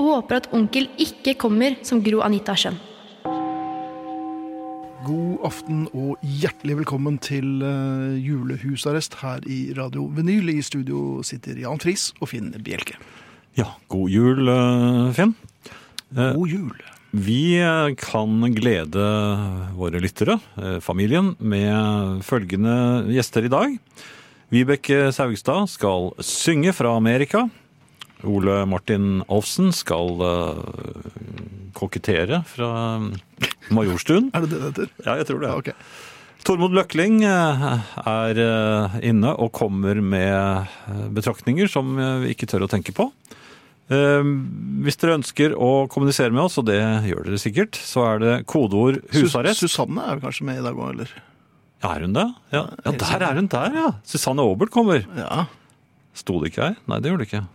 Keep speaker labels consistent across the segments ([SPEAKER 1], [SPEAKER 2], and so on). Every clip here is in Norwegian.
[SPEAKER 1] og håper at onkel ikke kommer som Gro Anita Schjønn.
[SPEAKER 2] God aften og hjertelig velkommen til eh, julehusarrest her i Radio Vinyl. I studio sitter Jan Friis og Finn Bjelke.
[SPEAKER 3] Ja, god jul, eh, Finn. Eh,
[SPEAKER 2] God jul.
[SPEAKER 3] Vi eh, kan glede våre lyttere, eh, familien, med følgende gjester i dag. Vibeke Saugstad skal synge fra Amerika. Ole Martin Olsen skal eh, kokettere fra eh, Majorstuen.
[SPEAKER 2] Er det det det heter?
[SPEAKER 3] Ja, jeg tror det.
[SPEAKER 2] Ja, ok.
[SPEAKER 3] Tormod Løkling eh, er eh, inne og kommer med eh, betraktninger som eh, vi ikke tør å tenke på. Eh, Hvis dere ønsker å kommunisere med oss, og det gjør dere sikkert, så er det kodeord husarrest.
[SPEAKER 2] Sus- Susanne er vel kanskje med i dag òg, eller?
[SPEAKER 3] Er hun det? Ja. ja, der er hun der, ja! Susanne Aabert kommer.
[SPEAKER 2] Ja.
[SPEAKER 3] Sto det ikke her? Nei, det gjorde det ikke.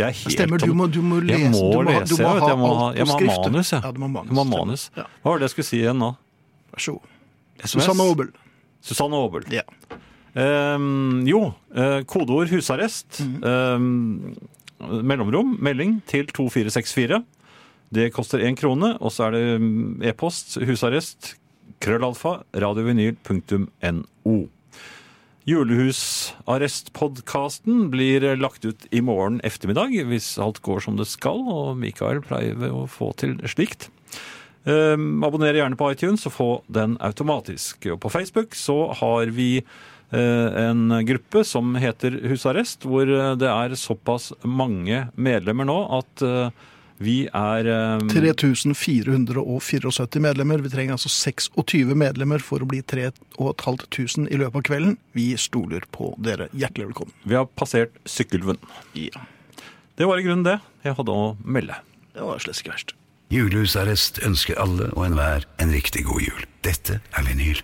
[SPEAKER 3] Jeg er helt
[SPEAKER 2] Stemmer, du må, du må lese.
[SPEAKER 3] Jeg må
[SPEAKER 2] du ha-
[SPEAKER 3] lese,
[SPEAKER 2] du må
[SPEAKER 3] jeg vet.
[SPEAKER 2] ha
[SPEAKER 3] Jeg må ha,
[SPEAKER 2] alt på
[SPEAKER 3] jeg må ha
[SPEAKER 2] skrift, du.
[SPEAKER 3] manus, jeg.
[SPEAKER 2] Ja, du må ha manus.
[SPEAKER 3] Jeg må ha
[SPEAKER 2] stemmer.
[SPEAKER 3] manus.
[SPEAKER 2] Ja,
[SPEAKER 3] Hva var det jeg skulle si igjen nå?
[SPEAKER 2] vær så god.
[SPEAKER 3] SMS?
[SPEAKER 2] Susanne Aabel.
[SPEAKER 3] Susanne Aabel.
[SPEAKER 2] Ja.
[SPEAKER 3] Ehm, jo, eh, kodeord husarrest. Ehm, mellomrom, melding til 2464. Det koster én krone. Og så er det mm, e-post husarrest krøllalfa radiovinyl.no. Julehusarrestpodkasten blir lagt ut i morgen ettermiddag, hvis alt går som det skal, og Mikael pleier å få til slikt. Um, abonner gjerne på iTunes og få den automatisk. Og på Facebook så har vi eh, en gruppe som heter Husarrest, hvor eh, det er såpass mange medlemmer nå at eh, vi er eh,
[SPEAKER 2] 3474 medlemmer. Vi trenger altså 26 medlemmer for å bli 3500 i løpet av kvelden. Vi stoler på dere. Hjertelig velkommen.
[SPEAKER 3] Vi har passert Sykkylven.
[SPEAKER 2] Ja.
[SPEAKER 3] Det var i grunnen det jeg hadde å melde.
[SPEAKER 2] Det var slett ikke verst.
[SPEAKER 4] Julehusarrest ønsker alle og enhver en riktig god jul. Dette er vinyl.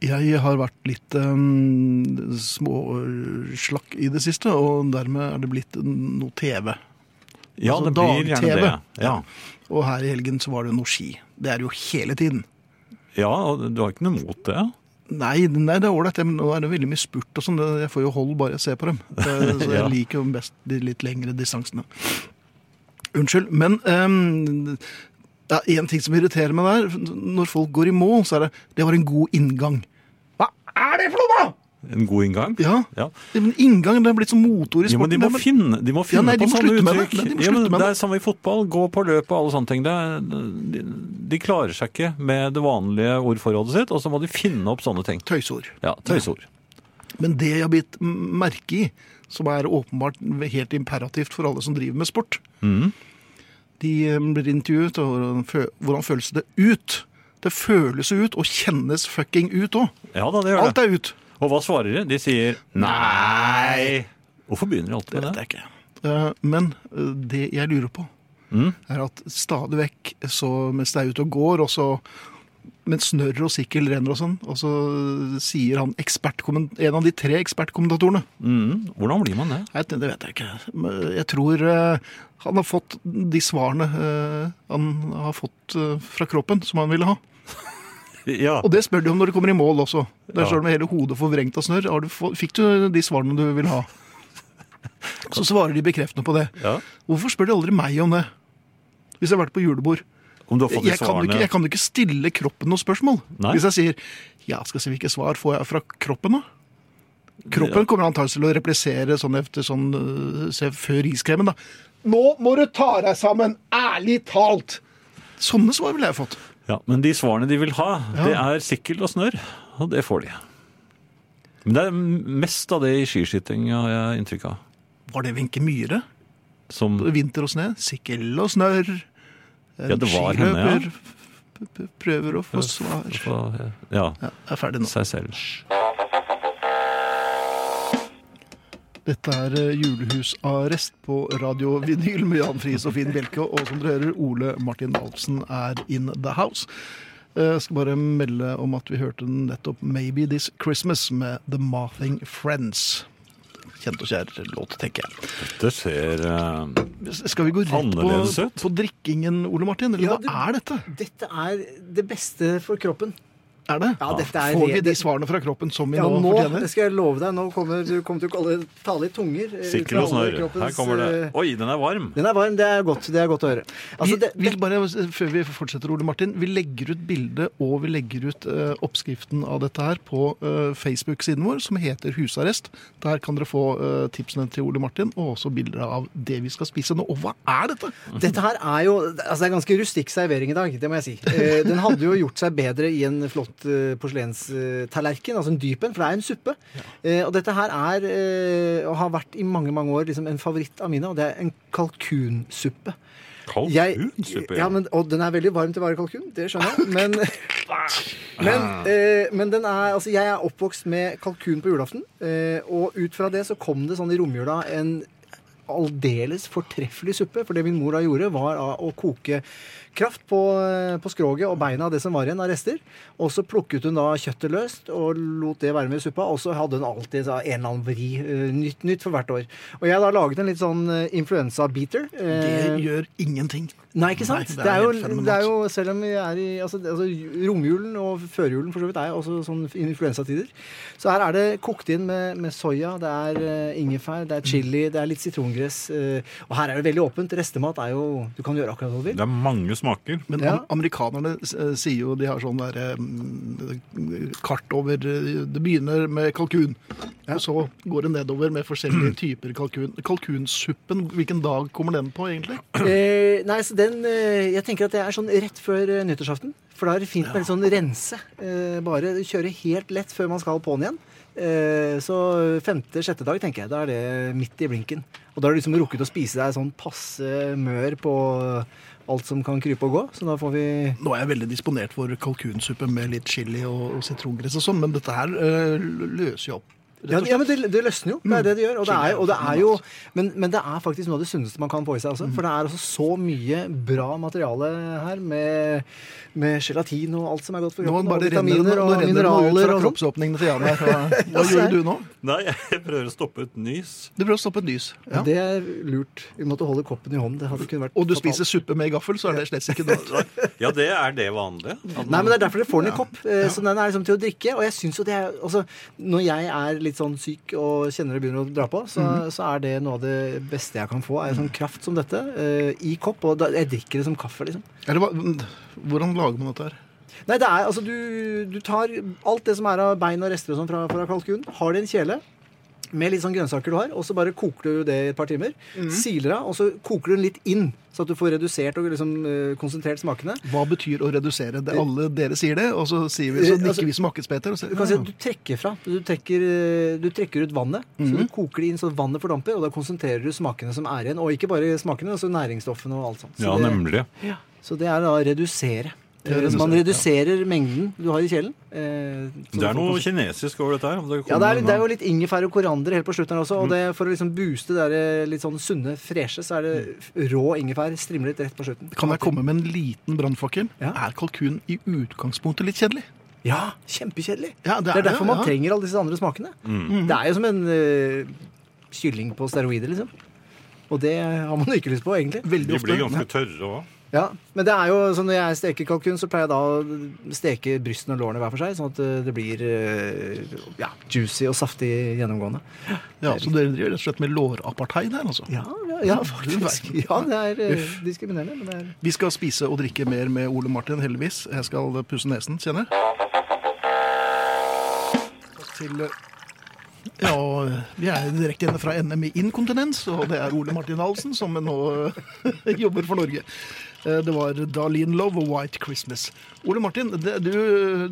[SPEAKER 2] Jeg har vært litt um, småslakk i det siste, og dermed er det blitt noe TV.
[SPEAKER 3] Ja,
[SPEAKER 2] Altså,
[SPEAKER 3] det blir gjerne
[SPEAKER 2] dag-TV.
[SPEAKER 3] det. Ja.
[SPEAKER 2] Og her i helgen så var det jo noe ski. Det er det jo hele tiden.
[SPEAKER 3] ja, og du har ikke noe mot det?
[SPEAKER 2] Nei, nei det er ålreit, men nå er det veldig mye spurt og sånn. Det- Jeg får jo hold bare jeg ser på dem. Det- Så jeg
[SPEAKER 3] Ja.
[SPEAKER 2] liker jo best de litt lengre distansene. Unnskyld, men um, det er én ting som irriterer meg der. Når folk går i mål, så er det Det var en god inngang. Hva er det for noe, da?!
[SPEAKER 3] En god inngang?
[SPEAKER 2] Ja.
[SPEAKER 3] ja.
[SPEAKER 2] Men inngang det er blitt som motord i
[SPEAKER 3] Jo,
[SPEAKER 2] sporten.
[SPEAKER 3] men de må
[SPEAKER 2] Det er-
[SPEAKER 3] finne, de må finne
[SPEAKER 2] nei, de
[SPEAKER 3] på
[SPEAKER 2] må
[SPEAKER 3] sånne
[SPEAKER 2] slutte med det.
[SPEAKER 3] uttrykk.
[SPEAKER 2] Nei, de må
[SPEAKER 3] ja, men
[SPEAKER 2] slutte med
[SPEAKER 3] det
[SPEAKER 2] det.
[SPEAKER 3] er samme i fotball. Gå på løpet og alle sånne ting. Det er, de, de klarer seg ikke med det vanlige ordforrådet sitt, og så må de finne opp sånne ting.
[SPEAKER 2] tøysord.
[SPEAKER 3] Ja, tøysord.
[SPEAKER 2] Men det jeg har bitt merke i, som er åpenbart helt imperativt for alle som driver med sport
[SPEAKER 3] Mm.
[SPEAKER 2] De eh, blir intervjuet, og hvordan fø- hvordan føles det ut? Det føles jo ut, og kjennes fucking ut òg.
[SPEAKER 3] Ja da, det gjør
[SPEAKER 2] Alt
[SPEAKER 3] det.
[SPEAKER 2] er ut.
[SPEAKER 3] Og hva svarer de? De sier nei. Hvorfor begynner de alltid
[SPEAKER 2] Det
[SPEAKER 3] med
[SPEAKER 2] vet
[SPEAKER 3] det?
[SPEAKER 2] jeg ikke. Eh, Men eh, det jeg lurer på, er at stadig vekk, så mens det er ute og går, og så mens snørr og sikkel renner og sånn, og så sier han ekspertkommen- en av de tre ekspertkommentatorene
[SPEAKER 3] Mm, hvordan blir man det?
[SPEAKER 2] Nei, det det vet jeg ikke. Men Jeg tror eh, han har fått de svarene eh, han har fått eh, fra kroppen, som han ville ha.
[SPEAKER 3] Ja.
[SPEAKER 2] Og det spør de om når de kommer i mål også. Der
[SPEAKER 3] Ja.
[SPEAKER 2] står det sånn med hele hodet forvrengt av snørr. Har du få- Fikk du de svarene du vil ha? Så svarer de bekreftende på det.
[SPEAKER 3] ja.
[SPEAKER 2] Hvorfor spør de aldri meg om det? Hvis jeg har vært på julebord.
[SPEAKER 3] Om du har fått de
[SPEAKER 2] Jeg kan, jo ikke,
[SPEAKER 3] svarene
[SPEAKER 2] jeg kan jo ikke stille kroppen noen spørsmål.
[SPEAKER 3] Nei.
[SPEAKER 2] Hvis jeg sier ja, skal jeg si hvilke svar får jeg fra kroppen, da? Kroppen kommer antakeligvis til å replisere sånn efter sånn øh, se, før iskremen, da. Nå må du ta deg sammen! Ærlig talt! Sånne svar ville jeg fått.
[SPEAKER 3] ja, Men de svarene de vil ha, det
[SPEAKER 2] Ja.
[SPEAKER 3] er sikkel og snørr. Og det får de. Men det er mest av det i skiskyting, har jeg inntrykk av.
[SPEAKER 2] Var det Wenche Myhre?
[SPEAKER 3] Som
[SPEAKER 2] Vinter og snø, sikkel og snørr. En
[SPEAKER 3] Ja, det var henne, ja.
[SPEAKER 2] skiløper p- p- prøver å få svar.
[SPEAKER 3] på- Ja.
[SPEAKER 2] Ja, jeg er ferdig nå.
[SPEAKER 3] seg selv.
[SPEAKER 2] Dette er eh, julehusarrest på Radio Vinyl med Jan Friis og Finn Bjelke. Og som dere hører, Ole Martin Alfsen er in the house. Jeg skal bare melde om at vi hørte den nettopp 'Maybe This Christmas' med The Mathing Friends. Kjent og kjær låt, tenker jeg.
[SPEAKER 3] Det ser eh,
[SPEAKER 2] Skal vi gå rett på,
[SPEAKER 3] Annerledes ut.
[SPEAKER 2] på drikkingen, Ole Martin? Eller
[SPEAKER 5] Ja, det-
[SPEAKER 2] hva er dette?
[SPEAKER 5] Dette er det beste for kroppen.
[SPEAKER 2] Er det?
[SPEAKER 5] Ja, dette er
[SPEAKER 2] Får vi
[SPEAKER 5] re-
[SPEAKER 2] de svarene fra kroppen som vi
[SPEAKER 5] Ja,
[SPEAKER 2] nå
[SPEAKER 5] nå, altså,
[SPEAKER 2] fortjener?
[SPEAKER 5] det skal jeg love deg, nå kommer du kommer til å kalle, tale i tunger. eh, ut
[SPEAKER 3] sirkel
[SPEAKER 5] fra
[SPEAKER 3] og snørr.
[SPEAKER 5] alle
[SPEAKER 3] Her
[SPEAKER 5] kroppens,
[SPEAKER 3] kommer det.
[SPEAKER 5] eh,
[SPEAKER 3] Oi, den er varm!
[SPEAKER 5] Den er varm, det er godt, det er godt å høre. Altså, det,
[SPEAKER 2] vi, vil bare, før vi fortsetter, Ole Martin, vi legger ut bildet og vi legger ut eh, oppskriften av dette her på eh, Facebook-siden vår, som heter Husarrest. Der kan dere få eh, tipsene til Ole Martin, og også bilder av det vi skal spise nå. Og hva er dette?
[SPEAKER 5] Dette her er jo altså Det er ganske rustikk servering i dag, det må jeg si. Eh, Den hadde jo gjort seg bedre i en flott eh, porselenstallerken, altså en dyp en, for det er en suppe. Eh, Og dette her er, eh, og har vært i mange, mange år, liksom en favoritt av mine, og det er en kalkunsuppe. Jeg-
[SPEAKER 3] Kalkunsuppe.
[SPEAKER 5] Ja, men, og den er veldig varm til å være kalkun, det skjønner jeg. Men, men, eh, men den er, altså, jeg er oppvokst med kalkun på julaften, eh, og ut fra det så kom det sånn i romjula en aldeles fortreffelig suppe. For det min mor da gjorde, var da å koke kraft på, eh, på skroget og beina av det som var igjen av rester. Og så plukket hun da kjøttet løst og lot det være med i suppa. Og så hadde hun alltid så, en eller annen vri. eh, Nytt, nytt for hvert år. Og jeg har da laget en litt sånn eh, influensa-beater. eh,
[SPEAKER 2] Det gjør ingenting.
[SPEAKER 5] Nei, ikke sant?
[SPEAKER 2] Nei,
[SPEAKER 5] det, er
[SPEAKER 2] helt
[SPEAKER 5] jo,
[SPEAKER 2] fenomenalt.
[SPEAKER 5] det er jo, selv om vi er i altså, altså, Romjulen og førjulen for så vidt er jo også sånn influensatider. Så her er det kokt inn med, med soya, det er eh, ingefær, det er chili, det er litt sitrongress. eh, og her er det veldig åpent. Restemat er jo Du kan gjøre akkurat hva du vil.
[SPEAKER 3] Det er mange smaker.
[SPEAKER 2] Men
[SPEAKER 5] Ja.
[SPEAKER 2] am- amerikanerne s- eh, sier jo de har sånn der, eh, kart over eh, Det begynner med kalkun, og så går det nedover med forskjellige typer kalkun. Kalkunsuppen, hvilken dag kommer den på, egentlig?
[SPEAKER 5] Eh, nei, så den eh, Jeg tenker at det er sånn rett før eh, nyttårsaften. For da er det fint med litt sånn rense. Eh, bare kjøre helt lett før man skal på'n igjen. Eh, så femte-sjette dag, tenker jeg. Da er det midt i blinken. Og da har du liksom rukket å spise deg sånn passe mør på alt som kan krype og gå. Så da får vi
[SPEAKER 2] Nå er jeg veldig disponert for kalkunsuppe med litt chili og, og sitrongress og sånn, men dette her eh, løser jo opp. Rett
[SPEAKER 5] ja,
[SPEAKER 2] og Mm. slett.
[SPEAKER 5] ja, men det, det løsner jo. Det er det det gjør. Og det er, jo- og det er jo, men, men det er faktisk noe av det sunneste man kan få i seg. Altså, for det er altså så mye bra materiale her, med, med gelatin og alt som er godt for
[SPEAKER 2] Nå
[SPEAKER 5] kroppen.
[SPEAKER 2] bare
[SPEAKER 5] og
[SPEAKER 2] renner det
[SPEAKER 5] vitaminer
[SPEAKER 2] nå
[SPEAKER 5] og
[SPEAKER 2] renner det noe ut
[SPEAKER 5] mineraler.
[SPEAKER 2] fra
[SPEAKER 5] Og sånt.
[SPEAKER 2] kroppsåpningene til Jan her. Hva, hva gjorde du nå?
[SPEAKER 3] Nei, jeg prøver å stoppe et nys.
[SPEAKER 2] Du prøver å stoppe et nys. Ja.
[SPEAKER 5] Det er lurt. Vi måtte holde koppen i hånden. Det hadde kun vært
[SPEAKER 2] Og du
[SPEAKER 5] fatalt.
[SPEAKER 2] spiser suppe med gaffel, så er det slett ikke noe.
[SPEAKER 3] Ja, det er det vanlige.
[SPEAKER 5] Nei, men Det er derfor dere får den i kopp. eh, Så den er liksom til å drikke. Og jeg synes jo det er, altså, Når jeg er litt sånn syk og kjenner det begynner å dra på, så,
[SPEAKER 2] Mhm.
[SPEAKER 5] så er det noe av det beste jeg kan få. Er sånn kraft som dette eh, i kopp. Og da, jeg drikker det som kaffe, liksom.
[SPEAKER 2] Eller hva, hvordan lager man dette her?
[SPEAKER 5] Nei, det er, altså, du, du tar alt det som er av bein og rester og sånn fra, fra kalkunen, har det i en kjele med litt sånn grønnsaker du har, og så bare koker du det i et par timer.
[SPEAKER 3] Mhm.
[SPEAKER 5] Siler av, og så koker du den litt inn, så at du får redusert og liksom, eh, konsentrert smakene.
[SPEAKER 2] Hva betyr å redusere det? Alle dere sier det, og så, sier vi, så
[SPEAKER 5] Eh, altså-
[SPEAKER 2] nikker vi som makkespeter. Og sier,
[SPEAKER 5] Du kan si at
[SPEAKER 2] «Ja,
[SPEAKER 5] du trekker fra. Du trekker, eh, du trekker ut vannet. Så
[SPEAKER 3] Mhm.
[SPEAKER 5] du koker det inn så vannet fordamper, og da konsentrerer du smakene som er igjen. Og ikke bare smakene, men også næringsstoffene og alt sånt. Så,
[SPEAKER 3] Ja,
[SPEAKER 5] det,
[SPEAKER 3] nemlig.
[SPEAKER 5] så det er da å redusere.
[SPEAKER 2] er å
[SPEAKER 5] Eh, Man
[SPEAKER 2] redusere,
[SPEAKER 5] reduserer mengden du har i kjelen. eh, så
[SPEAKER 3] Det
[SPEAKER 5] du
[SPEAKER 3] er
[SPEAKER 5] får
[SPEAKER 3] noe
[SPEAKER 5] konsent-
[SPEAKER 3] kinesisk over dette her. om
[SPEAKER 5] ja, det er,
[SPEAKER 3] kommer
[SPEAKER 5] det er jo litt ingefær og koriander helt på slutten her også.
[SPEAKER 2] Mm.
[SPEAKER 5] Og det, for å liksom booste det der litt sånn sunne, freshe, så er det rå ingefær strimlet rett på slutten.
[SPEAKER 2] Mm. Kan jeg komme med en liten brannfakkel?
[SPEAKER 5] Ja.
[SPEAKER 2] Er kalkun i utgangspunktet litt kjedelig?
[SPEAKER 5] Ja, kjempekjedelig.
[SPEAKER 2] Ja,
[SPEAKER 5] Det er derfor man
[SPEAKER 2] ja. Mm.
[SPEAKER 5] trenger alle disse andre smakene.
[SPEAKER 3] Mm.
[SPEAKER 5] Det er jo som en eh, kylling på steroider, liksom. Og det har man ikke lyst på, egentlig.
[SPEAKER 2] Veldig
[SPEAKER 3] De
[SPEAKER 2] ofte.
[SPEAKER 3] blir ganske tørre òg.
[SPEAKER 5] Ja, Men det er jo sånn når jeg steker kalkun, så pleier jeg da å steke brystene og lårene hver for seg, sånn at eh, det blir eh, ja, juicy og saftig gjennomgående.
[SPEAKER 2] Ja, så dere driver rett og slett med lårapartheid her, altså?
[SPEAKER 5] Ja, ja, ja faktisk. Ja, det er eh, diskriminerende, men det er
[SPEAKER 2] Vi skal spise og drikke mer med Ole Martin, heldigvis. Jeg skal pusse nesen, kjenner jeg. Til ja, og eh, vi er direkte inne fra NM i inkontinens, og det er Ole Martin Halsen som nå eh, jobber for Norge. Eh, Det var Darlene Love og White Christmas. Ole Martin, det, du,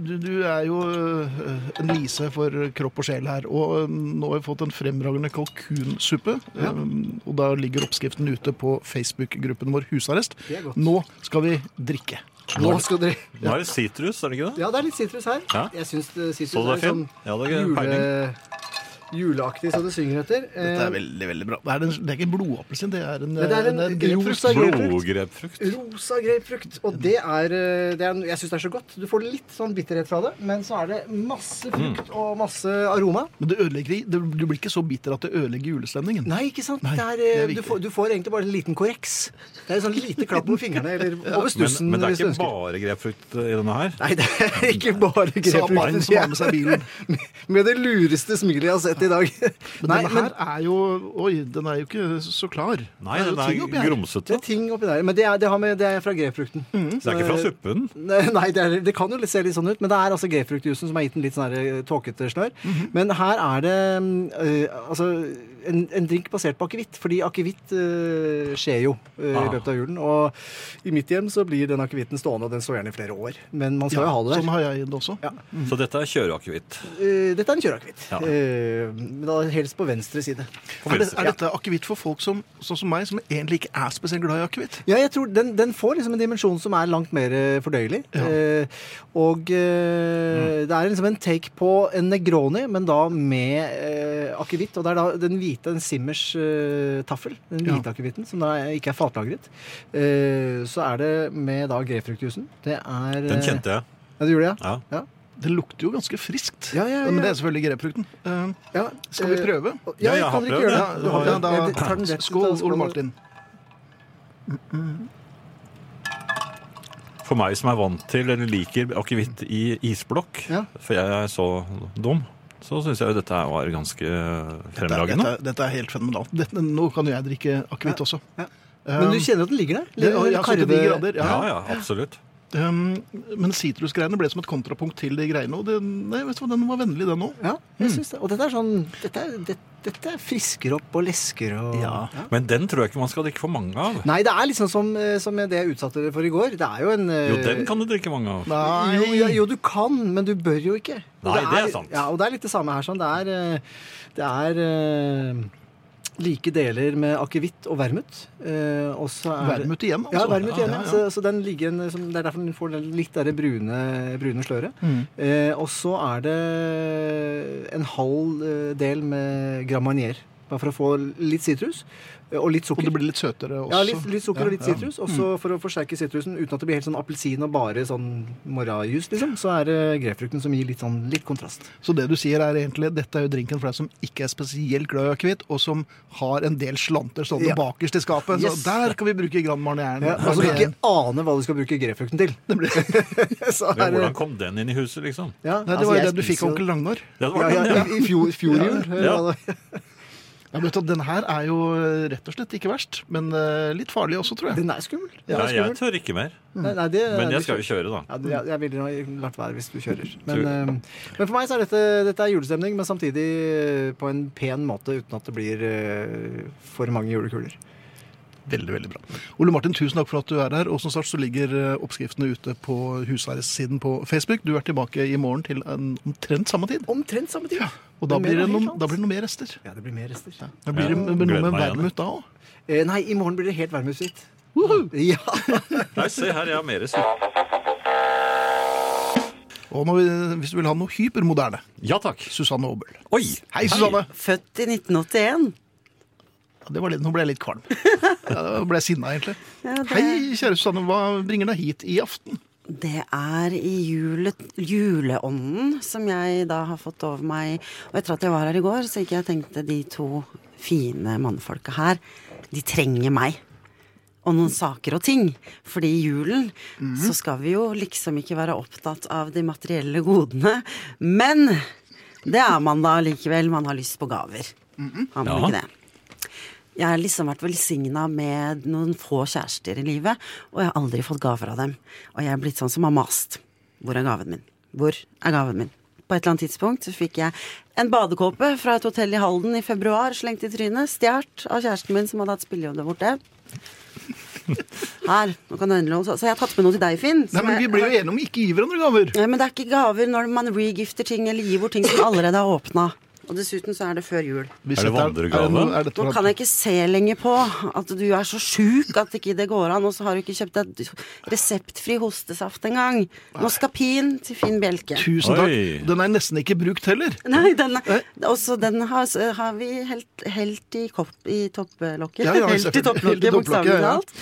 [SPEAKER 2] du, du er jo eh, en lise for kropp og sjel her. Og eh, nå har vi fått en fremragende kalkunsuppe. eh, Og da ligger oppskriften ute på Facebook-gruppen vår Husarrest.
[SPEAKER 5] Det er godt.
[SPEAKER 2] Nå skal vi drikke.
[SPEAKER 5] Nå skal dere
[SPEAKER 3] Nå er det sitrus, er det ikke det?
[SPEAKER 5] Ja, det er litt sitrus her.
[SPEAKER 3] Ja.
[SPEAKER 5] Jeg syns det- sitrus
[SPEAKER 3] Så du
[SPEAKER 5] er
[SPEAKER 3] det er
[SPEAKER 5] sånn
[SPEAKER 3] fin? Ja, det er ikke
[SPEAKER 5] jule... juleaktig så det synger etter. Eh,
[SPEAKER 2] Dette er veldig, veldig bra. Det Eh, er, en, det er ikke en blodappelsin, det er en,
[SPEAKER 5] Nei, det er en
[SPEAKER 2] en grapefruit.
[SPEAKER 5] rosa grapefruit.
[SPEAKER 3] Blodgrepfrukt.
[SPEAKER 5] Rosa grapefrukt. Og det er, eh, det er Jeg syns det er så godt. Du får litt sånn bitterhet fra det, men så er det masse frukt og masse aroma.
[SPEAKER 2] Men det ødelegger, det, du blir ikke så bitter at det ødelegger julestemningen.
[SPEAKER 5] Nei, ikke sant?
[SPEAKER 2] Nei,
[SPEAKER 5] det er,
[SPEAKER 2] det
[SPEAKER 5] eh,
[SPEAKER 2] er
[SPEAKER 5] du,
[SPEAKER 2] viktig.
[SPEAKER 5] får, du får egentlig bare en liten korreks. Det er sånn lite klapp med fingrene eller over
[SPEAKER 3] Men,
[SPEAKER 5] stussen.
[SPEAKER 3] men det er
[SPEAKER 5] hvis du
[SPEAKER 3] ikke
[SPEAKER 5] ønsker.
[SPEAKER 3] bare grepfrukt eh, i denne her.
[SPEAKER 5] Nei, det er ikke bare
[SPEAKER 2] Sa mannen
[SPEAKER 5] grapefrukt.
[SPEAKER 2] som har med seg bilen.
[SPEAKER 5] Med det lureste smilet jeg har sett i dag.
[SPEAKER 2] Men
[SPEAKER 5] Nei,
[SPEAKER 2] denne
[SPEAKER 5] men
[SPEAKER 2] her er jo Oi, den er jo ikke så klar.
[SPEAKER 3] Nei,
[SPEAKER 2] det
[SPEAKER 3] den
[SPEAKER 2] jo ting oppi
[SPEAKER 3] er
[SPEAKER 2] her.
[SPEAKER 5] det
[SPEAKER 3] grumsete.
[SPEAKER 5] er ting oppi der. Men det er, det har med, det er fra grapefrukten.
[SPEAKER 2] Mm.
[SPEAKER 3] Det er ikke fra suppen.
[SPEAKER 5] Nei, det, er, det kan jo litt- se litt sånn ut, men det er altså grapefruktjuicen som har gitt den litt sånn her, eh, tåkete snørr.
[SPEAKER 2] Mhm.
[SPEAKER 5] Men her er det mm, eh, altså en, en drink basert på akevitt, fordi akevitt eh, skjer jo eh,
[SPEAKER 3] Ah.
[SPEAKER 5] i løpet av julen. Og i mitt hjem så blir den akevitten stående, og den står gjerne i flere år. Men man skal
[SPEAKER 2] Ja,
[SPEAKER 5] jo ha det der.
[SPEAKER 2] sånn har jeg det også.
[SPEAKER 5] Ja.
[SPEAKER 3] Så dette er kjøreakevitt.
[SPEAKER 5] Eh, dette er en kjøreakevitt.
[SPEAKER 3] Ja.
[SPEAKER 5] Eh, men da helst på venstre side.
[SPEAKER 2] Er, det, er dette akevitt for folk som, sånn som meg, som egentlig ikke er spesielt glad i akevitt?
[SPEAKER 5] Ja, jeg tror den, den får liksom en dimensjon som er langt mer eh, fordøyelig. Eh, og eh,
[SPEAKER 2] Mm.
[SPEAKER 5] det er liksom en take på en Negroni, men da med eh, akevitt. Og det er da den hvite, en Simmers eh, taffel, den
[SPEAKER 2] Ja.
[SPEAKER 5] hvite akevitten, som da ikke er fatlagret. Eh, så er det med da grapefruktjuicen. Det er
[SPEAKER 3] Den
[SPEAKER 5] eh,
[SPEAKER 3] kjente jeg.
[SPEAKER 5] Ja, du gjorde det, ja?
[SPEAKER 3] Ja.
[SPEAKER 5] Ja.
[SPEAKER 2] Det lukter jo ganske friskt.
[SPEAKER 5] Ja, ja, ja.
[SPEAKER 2] Men det er selvfølgelig grapefrukten. Eh,
[SPEAKER 5] ja.
[SPEAKER 2] skal vi
[SPEAKER 5] Eh,
[SPEAKER 2] prøve?
[SPEAKER 5] Ja,
[SPEAKER 3] Ja,
[SPEAKER 5] jeg
[SPEAKER 3] jeg har
[SPEAKER 5] kan
[SPEAKER 3] prøvd
[SPEAKER 5] dere
[SPEAKER 3] det.
[SPEAKER 5] ikke gjøre
[SPEAKER 2] Ja,
[SPEAKER 5] det?
[SPEAKER 2] du har, ja, da,
[SPEAKER 5] Jeg tar den rett ut, da,
[SPEAKER 2] Eh, skål,
[SPEAKER 5] skål.
[SPEAKER 2] Ole Martin.
[SPEAKER 3] For meg som er vant til eller liker akevitt i isblokk,
[SPEAKER 5] Ja.
[SPEAKER 3] for jeg er så dum, så syns jeg jo dette her var ganske eh,
[SPEAKER 2] Dette,
[SPEAKER 3] fremragende.
[SPEAKER 2] dette, dette er helt fenomenalt. Dette, nå kan jo jeg drikke akevitt også.
[SPEAKER 5] Ja.
[SPEAKER 2] Eh,
[SPEAKER 5] Men du kjenner at den ligger der?
[SPEAKER 2] det, ja, altså, ja,
[SPEAKER 5] Karve-
[SPEAKER 2] 79 grader, ja.
[SPEAKER 3] Ja, ja, absolutt.
[SPEAKER 2] Um, men sitrusgreiene ble som et kontrapunkt til de greiene. Og det, nei, vet du hva, den var vennlig, den òg.
[SPEAKER 5] Ja,
[SPEAKER 3] Mm.
[SPEAKER 5] jeg synes det. Og dette er sånn Dette, er- det, dette er frisker opp og lesker og
[SPEAKER 2] Ja.
[SPEAKER 3] Men den tror jeg ikke man skal drikke for mange av.
[SPEAKER 5] Nei, det er liksom som, eh, som det jeg utsatte dere for i går. Det er jo en eh,
[SPEAKER 3] Jo, den kan du drikke mange av.
[SPEAKER 5] jo, ja, jo, du kan, men du bør jo ikke. Og
[SPEAKER 3] Nei, det er sant.
[SPEAKER 5] Ja, og det er litt det samme her. Sånn. Det er, eh, det er eh, like deler med akevitt og vermut. eh, og så er det-
[SPEAKER 2] Vermut igjen, altså.
[SPEAKER 5] Ja, vermut igjen.
[SPEAKER 2] Ja, ja,
[SPEAKER 5] Ja,
[SPEAKER 2] ja.
[SPEAKER 5] Så, så den ligger en, som, det er derfor den får det litt der brune, brune sløret.
[SPEAKER 2] Mm.
[SPEAKER 5] Eh, og så er det en halv eh, del med Grand Marnier. Bare for å få litt sitrus eh, og litt
[SPEAKER 2] Og
[SPEAKER 5] sukker.
[SPEAKER 2] det blir litt søtere også.
[SPEAKER 5] Ja, litt, litt sukker og litt
[SPEAKER 2] Ja, Mm. ja.
[SPEAKER 5] sitrus. Og så for å forsterke sitrusen uten at det blir helt sånn appelsin og bare sånn morajus, liksom, så er det grepfrukten som gir litt sånn litt kontrast.
[SPEAKER 2] Så det du sier er egentlig dette er jo drinken for deg som ikke er spesielt glad i akevitt, og som har en del slanter stående
[SPEAKER 5] Ja.
[SPEAKER 2] bakerst i skapet.
[SPEAKER 5] Yes.
[SPEAKER 2] Så der kan vi bruke Grand Marnieren.
[SPEAKER 5] Ja, altså du ikke aner hva du skal bruke grepfrukten til. så
[SPEAKER 3] Men
[SPEAKER 5] er
[SPEAKER 3] hvordan
[SPEAKER 5] det-
[SPEAKER 3] kom den inn i huset, liksom?
[SPEAKER 5] Ja,
[SPEAKER 2] Nei, det
[SPEAKER 5] altså,
[SPEAKER 2] var jo
[SPEAKER 5] jeg
[SPEAKER 2] den du fikk
[SPEAKER 5] spiser
[SPEAKER 2] av
[SPEAKER 5] jo-
[SPEAKER 2] onkel Ragnar.
[SPEAKER 3] Det
[SPEAKER 5] Ja,
[SPEAKER 3] var
[SPEAKER 5] ja,
[SPEAKER 3] den, ja.
[SPEAKER 5] I fjor, fjor jul.
[SPEAKER 3] Ja.
[SPEAKER 2] Ja, men vet du, den her er jo eh, rett og slett ikke verst, men eh, litt farlig også, tror jeg.
[SPEAKER 5] Den er skummel. Den
[SPEAKER 3] Ja,
[SPEAKER 5] er
[SPEAKER 3] jeg
[SPEAKER 5] skummel.
[SPEAKER 3] tør ikke mer.
[SPEAKER 5] Nei, nei, det,
[SPEAKER 3] Men jeg skal jo kjøre, da.
[SPEAKER 5] Ja, du, jeg, jeg ville nok latt være hvis du kjører. Men,
[SPEAKER 3] Tror-
[SPEAKER 5] eh, men for meg så er dette, dette er julestemning, men samtidig eh, på en pen måte uten at det blir eh, for mange julekuler.
[SPEAKER 2] Veldig, veldig bra. Ole Martin, tusen takk for at du er her. Og som sagt så ligger eh, oppskriftene ute på husherressiden på Facebook. Du er tilbake i morgen til en omtrent samme tid.
[SPEAKER 5] Omtrent samme tid.
[SPEAKER 2] Og da
[SPEAKER 5] Men
[SPEAKER 2] blir
[SPEAKER 5] mer
[SPEAKER 2] det
[SPEAKER 5] av helt
[SPEAKER 2] noen,
[SPEAKER 5] annet.
[SPEAKER 2] da blir det noen mer rester.
[SPEAKER 5] Ja, det blir mer rester.
[SPEAKER 2] Da blir det
[SPEAKER 3] Ja,
[SPEAKER 2] men noe
[SPEAKER 3] gleder
[SPEAKER 2] med
[SPEAKER 3] meg igjen.
[SPEAKER 2] vermut da òg.
[SPEAKER 5] Eh, nei, i morgen blir det helt værmusfritt. Ja.
[SPEAKER 3] Nei, se her, jeg har mer suppe.
[SPEAKER 2] Og når vi, hvis du vil ha noe hypermoderne,
[SPEAKER 3] Ja takk.
[SPEAKER 2] Susanne Aabel.
[SPEAKER 3] Oi!
[SPEAKER 2] Hei, Susanne!
[SPEAKER 6] Født i 1981.
[SPEAKER 2] Ja, det var litt, nå ble jeg litt kvalm. Ja, da ble jeg sinna, egentlig. Hei, kjære Susanne. Hva bringer deg hit i aften?
[SPEAKER 6] Det er i jule, juleånden som jeg da har fått over meg. Og etter at jeg var her i går, så gikk jeg og tenkte de to fine mannfolka her, de trenger meg. Og noen saker og ting. Fordi i julen så skal vi jo liksom ikke være opptatt av de materielle godene. Men det er man da likevel. Man har lyst på gaver. Har man
[SPEAKER 3] Ja.
[SPEAKER 6] ikke det? Jeg har liksom vært velsigna med noen få kjærester i livet, og jeg har aldri fått gaver av dem. Og jeg er blitt sånn som har mast. Hvor er gaven min? Hvor er gaven min? På et eller annet tidspunkt så fikk jeg en badekåpe fra et hotell i Halden i februar, slengt i trynet, stjålet av kjæresten min som hadde hatt spillejobb der borte. Her, nå kan du endelig holde Så så jeg har tatt med noe til deg, Finn.
[SPEAKER 2] Nei,
[SPEAKER 6] som
[SPEAKER 2] men
[SPEAKER 6] jeg-
[SPEAKER 2] Vi blir jo enige om ikke å gi hverandre gaver.
[SPEAKER 6] Nei, men det er ikke gaver når man regifter ting eller gir bort ting som allerede er åpna. Og dessuten så er det før jul.
[SPEAKER 2] Vi
[SPEAKER 3] det
[SPEAKER 2] setter-
[SPEAKER 3] vandregave?
[SPEAKER 2] noe- er dette fra-
[SPEAKER 6] Nå kan jeg ikke se lenger på at du er så sjuk at ikke det går an, og så har du ikke kjøpt deg reseptfri hostesaft engang. Noskapin til Finn Bjelke.
[SPEAKER 2] Tusen takk.
[SPEAKER 3] Oi.
[SPEAKER 2] Den er nesten ikke brukt heller.
[SPEAKER 6] Nei, den, er- også den har, har vi helt, helt i, kopp, i topplokket.
[SPEAKER 2] Ja, ja,
[SPEAKER 6] helt i
[SPEAKER 2] selvfølgelig. Helt i
[SPEAKER 6] topplokket,
[SPEAKER 2] topplokket,
[SPEAKER 6] bokstavelig
[SPEAKER 2] ja.
[SPEAKER 6] talt.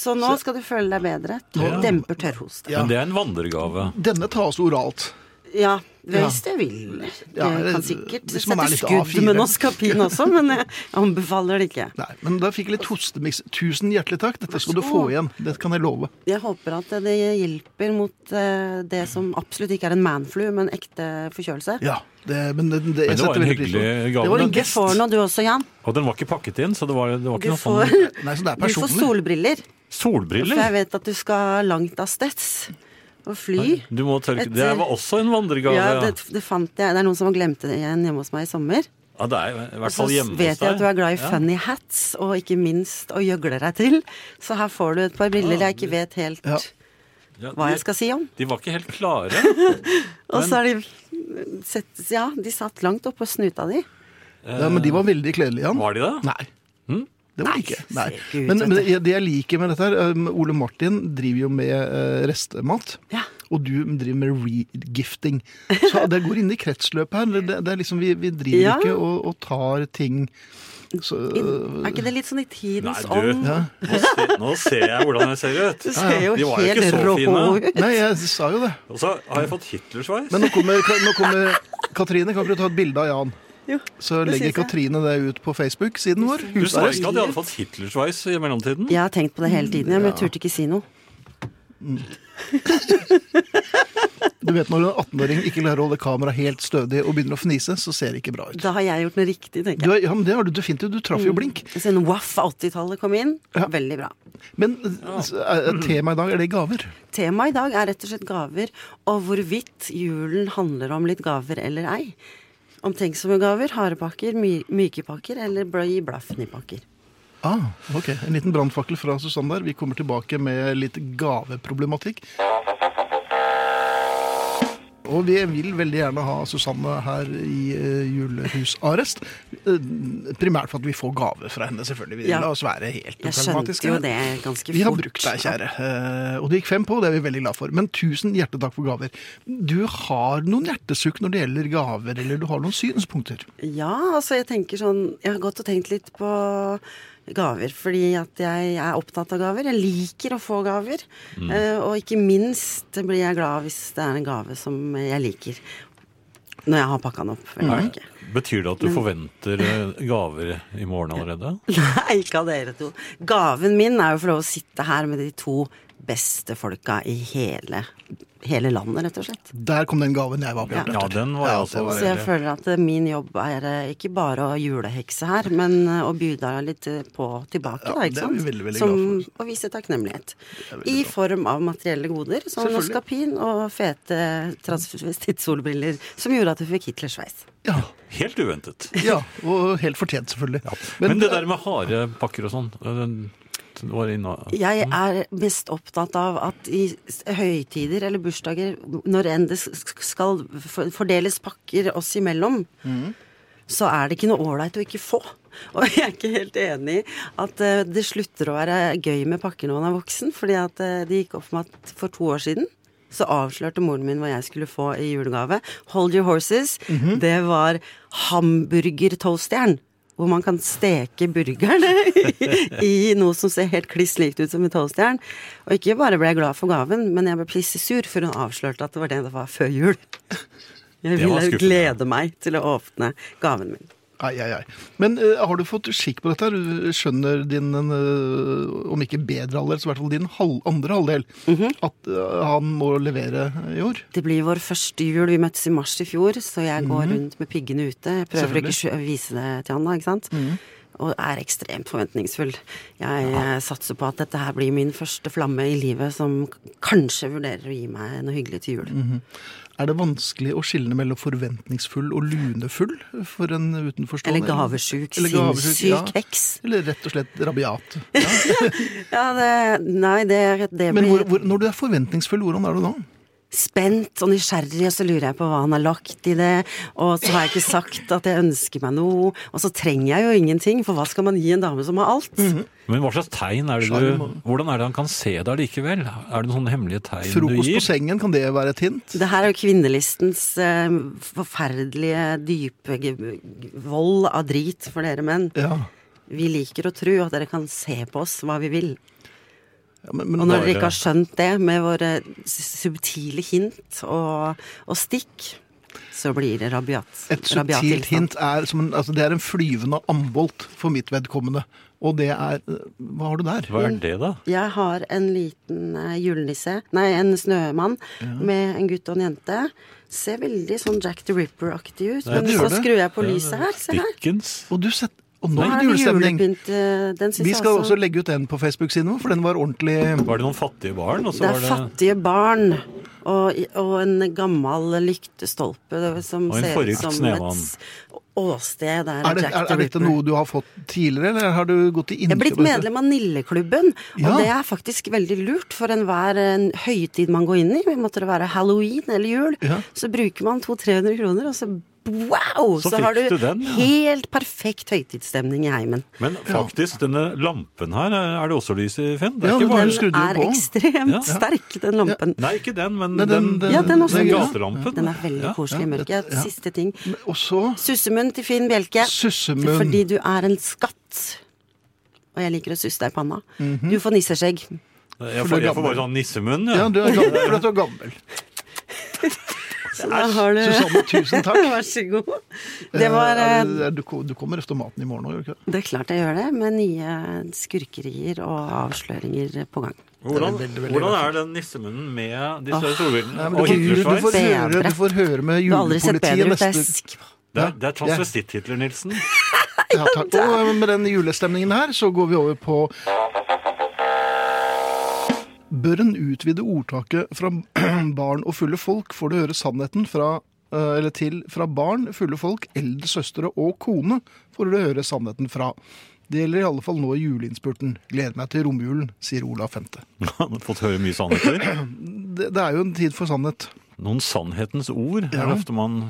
[SPEAKER 6] Så nå skal du føle deg bedre.
[SPEAKER 3] Ja.
[SPEAKER 6] Demper tørrhoste.
[SPEAKER 2] Ja.
[SPEAKER 3] Men det er en vandregave.
[SPEAKER 2] Denne tas oralt.
[SPEAKER 6] Ja, hvis du vil. Du
[SPEAKER 2] Ja,
[SPEAKER 6] kan
[SPEAKER 2] det-
[SPEAKER 6] sikkert
[SPEAKER 2] hvis man
[SPEAKER 6] sette
[SPEAKER 2] er litt
[SPEAKER 6] skudd
[SPEAKER 2] A4.
[SPEAKER 6] med noskapin også, men jeg anbefaler det ikke.
[SPEAKER 2] Nei, men da fikk jeg litt hostemiks. Tusen hjertelig takk. Dette skal du få igjen. Det kan jeg love.
[SPEAKER 6] Jeg håper at det hjelper mot eh, det som absolutt ikke er en manflu, men ekte forkjølelse.
[SPEAKER 2] Ja, det, men det, det, jeg
[SPEAKER 3] Men det var
[SPEAKER 2] setter
[SPEAKER 3] en
[SPEAKER 2] veldig pris på det.
[SPEAKER 3] hyggelig gave.
[SPEAKER 2] Det var en
[SPEAKER 3] Men-
[SPEAKER 6] Du
[SPEAKER 2] gest.
[SPEAKER 6] får noe du også, Jan.
[SPEAKER 3] Og den var ikke pakket inn, så det var, det var
[SPEAKER 6] Du
[SPEAKER 3] ikke noe
[SPEAKER 6] får,
[SPEAKER 3] sånn
[SPEAKER 2] Nei, så det er
[SPEAKER 6] du får
[SPEAKER 2] personlig.
[SPEAKER 6] solbriller. For jeg
[SPEAKER 3] Solbriller?
[SPEAKER 6] vet at du skal langt av steds og fly.
[SPEAKER 3] Du må tørke.
[SPEAKER 6] Et-
[SPEAKER 3] Det var også en vandregave.
[SPEAKER 6] Ja,
[SPEAKER 3] Ja,
[SPEAKER 6] det, det fant jeg. Det er noen som har glemt det igjen hjemme hos meg i sommer.
[SPEAKER 3] ja, det er i hvert
[SPEAKER 6] Så
[SPEAKER 3] fall hjemme hos deg.
[SPEAKER 6] vet jeg at du er glad i
[SPEAKER 3] Ja.
[SPEAKER 6] funny hats, og ikke minst å gjøgle deg til. Så her får du et par
[SPEAKER 3] Ah,
[SPEAKER 6] briller jeg ikke vet helt
[SPEAKER 2] Ja.
[SPEAKER 3] Ja,
[SPEAKER 6] hva
[SPEAKER 3] de-
[SPEAKER 6] jeg skal si om.
[SPEAKER 3] De var ikke helt klare.
[SPEAKER 6] Og så er de sett, Ja, de satt langt oppå snuta di.
[SPEAKER 2] Ja, men de var veldig kledelige, Jan.
[SPEAKER 3] Var de det?
[SPEAKER 2] Nei. Hm? Det var de ikke. Nei.
[SPEAKER 6] ser ikke ut,
[SPEAKER 2] Men, men
[SPEAKER 6] vet du.
[SPEAKER 2] det jeg liker med dette her um, Ole Martin driver jo med eh, restemat.
[SPEAKER 6] Ja.
[SPEAKER 2] Og du driver med regifting. Så det går inn i kretsløpet her. Det, det er liksom, vi, vi driver
[SPEAKER 6] Ja.
[SPEAKER 2] ikke og, og tar ting så, øh,
[SPEAKER 6] Er ikke det litt sånn i tidens
[SPEAKER 3] Øh. Nei, du.
[SPEAKER 6] ånd?
[SPEAKER 2] ja.
[SPEAKER 3] Nå ser, nå ser jeg hvordan jeg ser ut.
[SPEAKER 6] Du ser jo
[SPEAKER 3] De var jo ikke
[SPEAKER 6] helt
[SPEAKER 3] så
[SPEAKER 6] rå
[SPEAKER 3] fine.
[SPEAKER 6] ut.
[SPEAKER 2] Nei, jeg sa jo det.
[SPEAKER 3] Og så har jeg fått Hitlersveis.
[SPEAKER 2] Men nå kommer, nå kommer Katrine. Kan ikke du ta et bilde av Jan?
[SPEAKER 6] Jo,
[SPEAKER 2] Så
[SPEAKER 6] det
[SPEAKER 2] legger
[SPEAKER 6] synes jeg.
[SPEAKER 2] Katrine det ut på Facebook-siden vår.
[SPEAKER 3] Du sa
[SPEAKER 2] Husarrest.
[SPEAKER 3] ikke at jeg hadde fått Hitlersveis i mellomtiden?
[SPEAKER 6] Jeg har tenkt på det hele tiden, ja, men jeg turte ikke si noe.
[SPEAKER 2] Du vet når en 18-åring ikke klarer å holde kameraet helt stødig og begynner å fnise, så ser det ikke bra ut.
[SPEAKER 6] Da har jeg gjort noe riktig,
[SPEAKER 2] Du,
[SPEAKER 6] tenker jeg.
[SPEAKER 2] er- ja, men det har du definitivt. Du
[SPEAKER 6] Mm.
[SPEAKER 2] traff jo blink.
[SPEAKER 6] Siden Waff 80-tallet kom inn,
[SPEAKER 2] Ja.
[SPEAKER 6] veldig bra.
[SPEAKER 2] Men s- er- er temaet i dag, er det gaver?
[SPEAKER 6] Temaet i dag er rett og slett gaver, og hvorvidt julen handler om litt gaver eller ei. Omtenksomme gaver, harde pakker, my myke pakker eller bl- gi blaffen i pakker.
[SPEAKER 2] Ah, ok. En liten brannfakkel fra Susanne der. Vi kommer tilbake med litt gaveproblematikk. Og vi vil veldig gjerne ha Susanne her i eh, julehusarrest. Eh, primært for at vi får gaver fra henne, selvfølgelig. Vi
[SPEAKER 6] Ja.
[SPEAKER 2] La oss være helt
[SPEAKER 6] Jeg skjønte
[SPEAKER 2] uproblematiske.
[SPEAKER 6] jo det ganske fort.
[SPEAKER 2] Vi har brukt deg, kjære. Eh, Og det gikk fem på, det er vi veldig glad for. Men tusen hjertelig takk for gaver. Du har noen hjertesukk når det gjelder gaver, eller du har noen synspunkter.
[SPEAKER 6] Ja, altså jeg tenker sånn Jeg har gått og tenkt litt på gaver, fordi at jeg er opptatt av gaver. Jeg liker å få gaver. Eh, og ikke minst blir jeg glad hvis det er en gave som jeg liker. Når jeg har pakka den opp. vel å
[SPEAKER 3] Nei.
[SPEAKER 6] merke.
[SPEAKER 3] Betyr det at du forventer eh, gaver i morgen allerede?
[SPEAKER 6] Nei, ikke av dere to. Gaven min er jo å få lov å sitte her med de to beste folka i hele, hele landet, rett og slett.
[SPEAKER 2] Der kom den gaven jeg var på.
[SPEAKER 6] Ja.
[SPEAKER 2] jakt
[SPEAKER 3] Ja,
[SPEAKER 2] etter.
[SPEAKER 3] den var jeg også.
[SPEAKER 6] Så jeg
[SPEAKER 3] veldig-
[SPEAKER 6] føler at eh, min jobb er eh, ikke bare å julehekse her, men eh, å by deg litt eh, på tilbake,
[SPEAKER 2] Ja,
[SPEAKER 6] da, ikke
[SPEAKER 2] det er
[SPEAKER 6] sant?
[SPEAKER 2] vi veldig, veldig
[SPEAKER 6] Som
[SPEAKER 2] glad
[SPEAKER 6] å vise takknemlighet. I form av materielle goder, som
[SPEAKER 2] Selvfølgelig.
[SPEAKER 6] noskapin og fete transvestittsolbriller, som gjorde at du fikk Hitlers sveis.
[SPEAKER 2] Ja.
[SPEAKER 3] Helt uventet.
[SPEAKER 2] ja, og helt fortjent, selvfølgelig.
[SPEAKER 3] Men, det der med harde pakker og sånn eh, den- den var inna-
[SPEAKER 6] Jeg er mest opptatt av at i s- høytider eller bursdager, når enn det s- skal for- fordeles pakker oss imellom, så er det ikke noe ålreit å ikke få. Og jeg er ikke helt enig i at eh, det slutter å være gøy med pakker når man er voksen, fordi at eh, det gikk opp for meg at for to år siden så avslørte moren min hva jeg skulle få i julegave. Hold your horses.
[SPEAKER 3] Mhm.
[SPEAKER 6] Det var hamburgertoastjern. Hvor man kan steke burgerne i noe som ser helt kliss likt ut som en toastjern. Og ikke bare ble jeg glad for gaven, men jeg ble plisse sur, for hun avslørte at det var det det var før jul. Jeg
[SPEAKER 3] Det var
[SPEAKER 6] ville
[SPEAKER 3] skuffende.
[SPEAKER 6] glede meg til å åpne gaven min.
[SPEAKER 2] Ai, ai, ai. Men eh, har du fått skikk på dette? her? Du skjønner din, eh, om ikke bedre halvdel, så i hvert fall din halv, andre halvdel,
[SPEAKER 3] Mhm.
[SPEAKER 2] at eh, han må levere i år?
[SPEAKER 6] Det blir vår første jul. Vi møttes i mars i fjor, så jeg går rundt med piggene ute. Jeg prøver å ikke skjø- vise det til han, da, ikke sant? Og er ekstremt forventningsfull. Jeg eh, satser på at dette her blir min første flamme i livet som k- kanskje vurderer å gi meg noe hyggelig til jul.
[SPEAKER 2] Er det vanskelig å skille mellom forventningsfull og lunefull for en utenforstående?
[SPEAKER 6] Eller gavesjuk,
[SPEAKER 2] Eller gavesjuk,
[SPEAKER 6] sinnssyk
[SPEAKER 2] ja.
[SPEAKER 6] heks.
[SPEAKER 2] Eller rett og slett rabiat.
[SPEAKER 6] Ja, det Nei, det, det
[SPEAKER 2] Men
[SPEAKER 6] blir
[SPEAKER 2] hvor, hvor, når du er forventningsfull, hvordan er du da?
[SPEAKER 6] spent og nysgjerrig, og så lurer jeg på hva han har lagt i det, og så har jeg ikke sagt at jeg ønsker meg noe, og så trenger jeg jo ingenting, for hva skal man gi en dame som har alt?
[SPEAKER 3] Men hva slags tegn er det du Hvordan er det han kan se deg likevel? Er det noen hemmelige tegn du
[SPEAKER 2] Frokost på
[SPEAKER 3] gir?
[SPEAKER 2] sengen, kan det være et hint?
[SPEAKER 6] Det her er jo kvinnelistens eh, forferdelige, dype ge- vold av drit for dere menn.
[SPEAKER 2] Ja.
[SPEAKER 6] Vi liker å tro at dere kan se på oss hva vi vil.
[SPEAKER 2] Ja, men, men,
[SPEAKER 6] Og når dere
[SPEAKER 3] Bare-
[SPEAKER 6] ikke har skjønt det med våre s- subtile hint og, og stikk, så blir det rabiat.
[SPEAKER 2] Et
[SPEAKER 6] rabiat
[SPEAKER 2] subtilt
[SPEAKER 6] tilstand.
[SPEAKER 2] hint er som en, altså det er en flyvende ambolt for mitt vedkommende. Og det er Hva har du der?
[SPEAKER 3] Hva er det, da?
[SPEAKER 6] Jeg har en liten eh, julenisse, nei, en snømann, med en gutt og en jente. Ser veldig sånn Jack the Ripper-aktig ut. Men
[SPEAKER 2] det gjør
[SPEAKER 6] så
[SPEAKER 2] det.
[SPEAKER 6] skrur jeg på lyset her, se her.
[SPEAKER 3] Dickens?
[SPEAKER 2] Og du sett, og nå
[SPEAKER 6] Her
[SPEAKER 2] er
[SPEAKER 6] er
[SPEAKER 2] det
[SPEAKER 6] det
[SPEAKER 2] julestemning.
[SPEAKER 6] julepynt. eh, Den syns
[SPEAKER 2] Vi
[SPEAKER 6] jeg
[SPEAKER 2] skal
[SPEAKER 6] også
[SPEAKER 2] også legge ut den på Facebook-siden vår, for den var ordentlig
[SPEAKER 3] Var det noen fattige barn? Og så
[SPEAKER 6] Det er
[SPEAKER 3] var det
[SPEAKER 6] fattige barn og, og en gammel lyktestolpe det- som
[SPEAKER 3] Og en
[SPEAKER 6] ser ut
[SPEAKER 3] forrykt
[SPEAKER 6] som
[SPEAKER 3] snevann.
[SPEAKER 6] et åsted der
[SPEAKER 2] er, det,
[SPEAKER 6] Jack
[SPEAKER 2] er,
[SPEAKER 6] the
[SPEAKER 2] er dette
[SPEAKER 6] Ripper-
[SPEAKER 2] noe du har fått tidligere, eller har du gått i
[SPEAKER 6] jeg er
[SPEAKER 2] innkjøp?
[SPEAKER 6] blitt medlem av Nilleklubben, og
[SPEAKER 2] Ja.
[SPEAKER 6] det er faktisk veldig lurt for enhver eh, høytid man går inn i. Måtte det være halloween eller jul,
[SPEAKER 2] Ja.
[SPEAKER 6] så bruker man 200-300 kroner, og så wow!
[SPEAKER 3] Så
[SPEAKER 6] Så,
[SPEAKER 3] fikk
[SPEAKER 6] har du,
[SPEAKER 3] du den, ja.
[SPEAKER 6] helt perfekt høytidsstemning i heimen.
[SPEAKER 3] Men faktisk, denne lampen her, er det også lys i, Finn? Det
[SPEAKER 2] Ja,
[SPEAKER 3] er
[SPEAKER 2] men
[SPEAKER 3] ikke bare
[SPEAKER 2] den- skrudde
[SPEAKER 6] Den
[SPEAKER 2] jo
[SPEAKER 6] er
[SPEAKER 2] på.
[SPEAKER 6] ekstremt
[SPEAKER 3] Ja.
[SPEAKER 6] sterk, den lampen.
[SPEAKER 3] Nei, ikke den, men
[SPEAKER 2] Nei,
[SPEAKER 3] den,
[SPEAKER 2] den- den-
[SPEAKER 6] Ja, den er så
[SPEAKER 3] den
[SPEAKER 6] fin.
[SPEAKER 3] gatelampen.
[SPEAKER 6] Den er veldig
[SPEAKER 3] Ja.
[SPEAKER 6] koselig i mørket.
[SPEAKER 2] ja.
[SPEAKER 6] Siste ting.
[SPEAKER 2] Og så
[SPEAKER 6] Sussemunn til Finn Bjelke.
[SPEAKER 2] Sussemunn.
[SPEAKER 6] Fordi du er en skatt. Og jeg liker å susse deg i panna.
[SPEAKER 3] Mhm.
[SPEAKER 6] Du får nisseskjegg.
[SPEAKER 3] Jeg får, jeg får bare sånn nissemunn,
[SPEAKER 2] Ja,
[SPEAKER 3] ja.
[SPEAKER 2] du er gammel for at du er gammel.
[SPEAKER 6] Så da har du
[SPEAKER 2] Susanne, tusen takk.
[SPEAKER 6] Vær så god. Det var
[SPEAKER 2] Er
[SPEAKER 6] eh,
[SPEAKER 2] det- er Du, ko- du kommer efter maten i morgen òg, gjør du ikke det?
[SPEAKER 6] Det er klart jeg gjør det, med nye skurkerier og avsløringer på gang.
[SPEAKER 3] Hvordan, hvordan er den nissemunnen med de større
[SPEAKER 2] Ah. Nei,
[SPEAKER 3] solbrillene
[SPEAKER 2] men du, får,
[SPEAKER 3] og
[SPEAKER 2] du, får
[SPEAKER 3] Hitlersveis?
[SPEAKER 2] høre, du får høre med
[SPEAKER 6] Du har aldri sett
[SPEAKER 2] julepolitiet
[SPEAKER 6] bedre ut, det er jeg
[SPEAKER 2] neste
[SPEAKER 6] sikker på.
[SPEAKER 3] Det er, det er transvestitt-Hitler-Nilsen.
[SPEAKER 2] ja, takk. Og eh, med den julestemningen her, så går vi over på Bør en utvide ordtaket fra barn og fulle folk får du høre sannheten fra eh, eller til fra barn, fulle folk, eldre søstre og kone får du høre sannheten fra. Det gjelder i alle fall nå i juleinnspurten. Gleder meg til romjulen, sier Olav Femte.
[SPEAKER 3] Han har fått høre mye sannheter.
[SPEAKER 2] Det, det er jo en tid for sannhet.
[SPEAKER 3] Noen sannhetens ord er det ofte man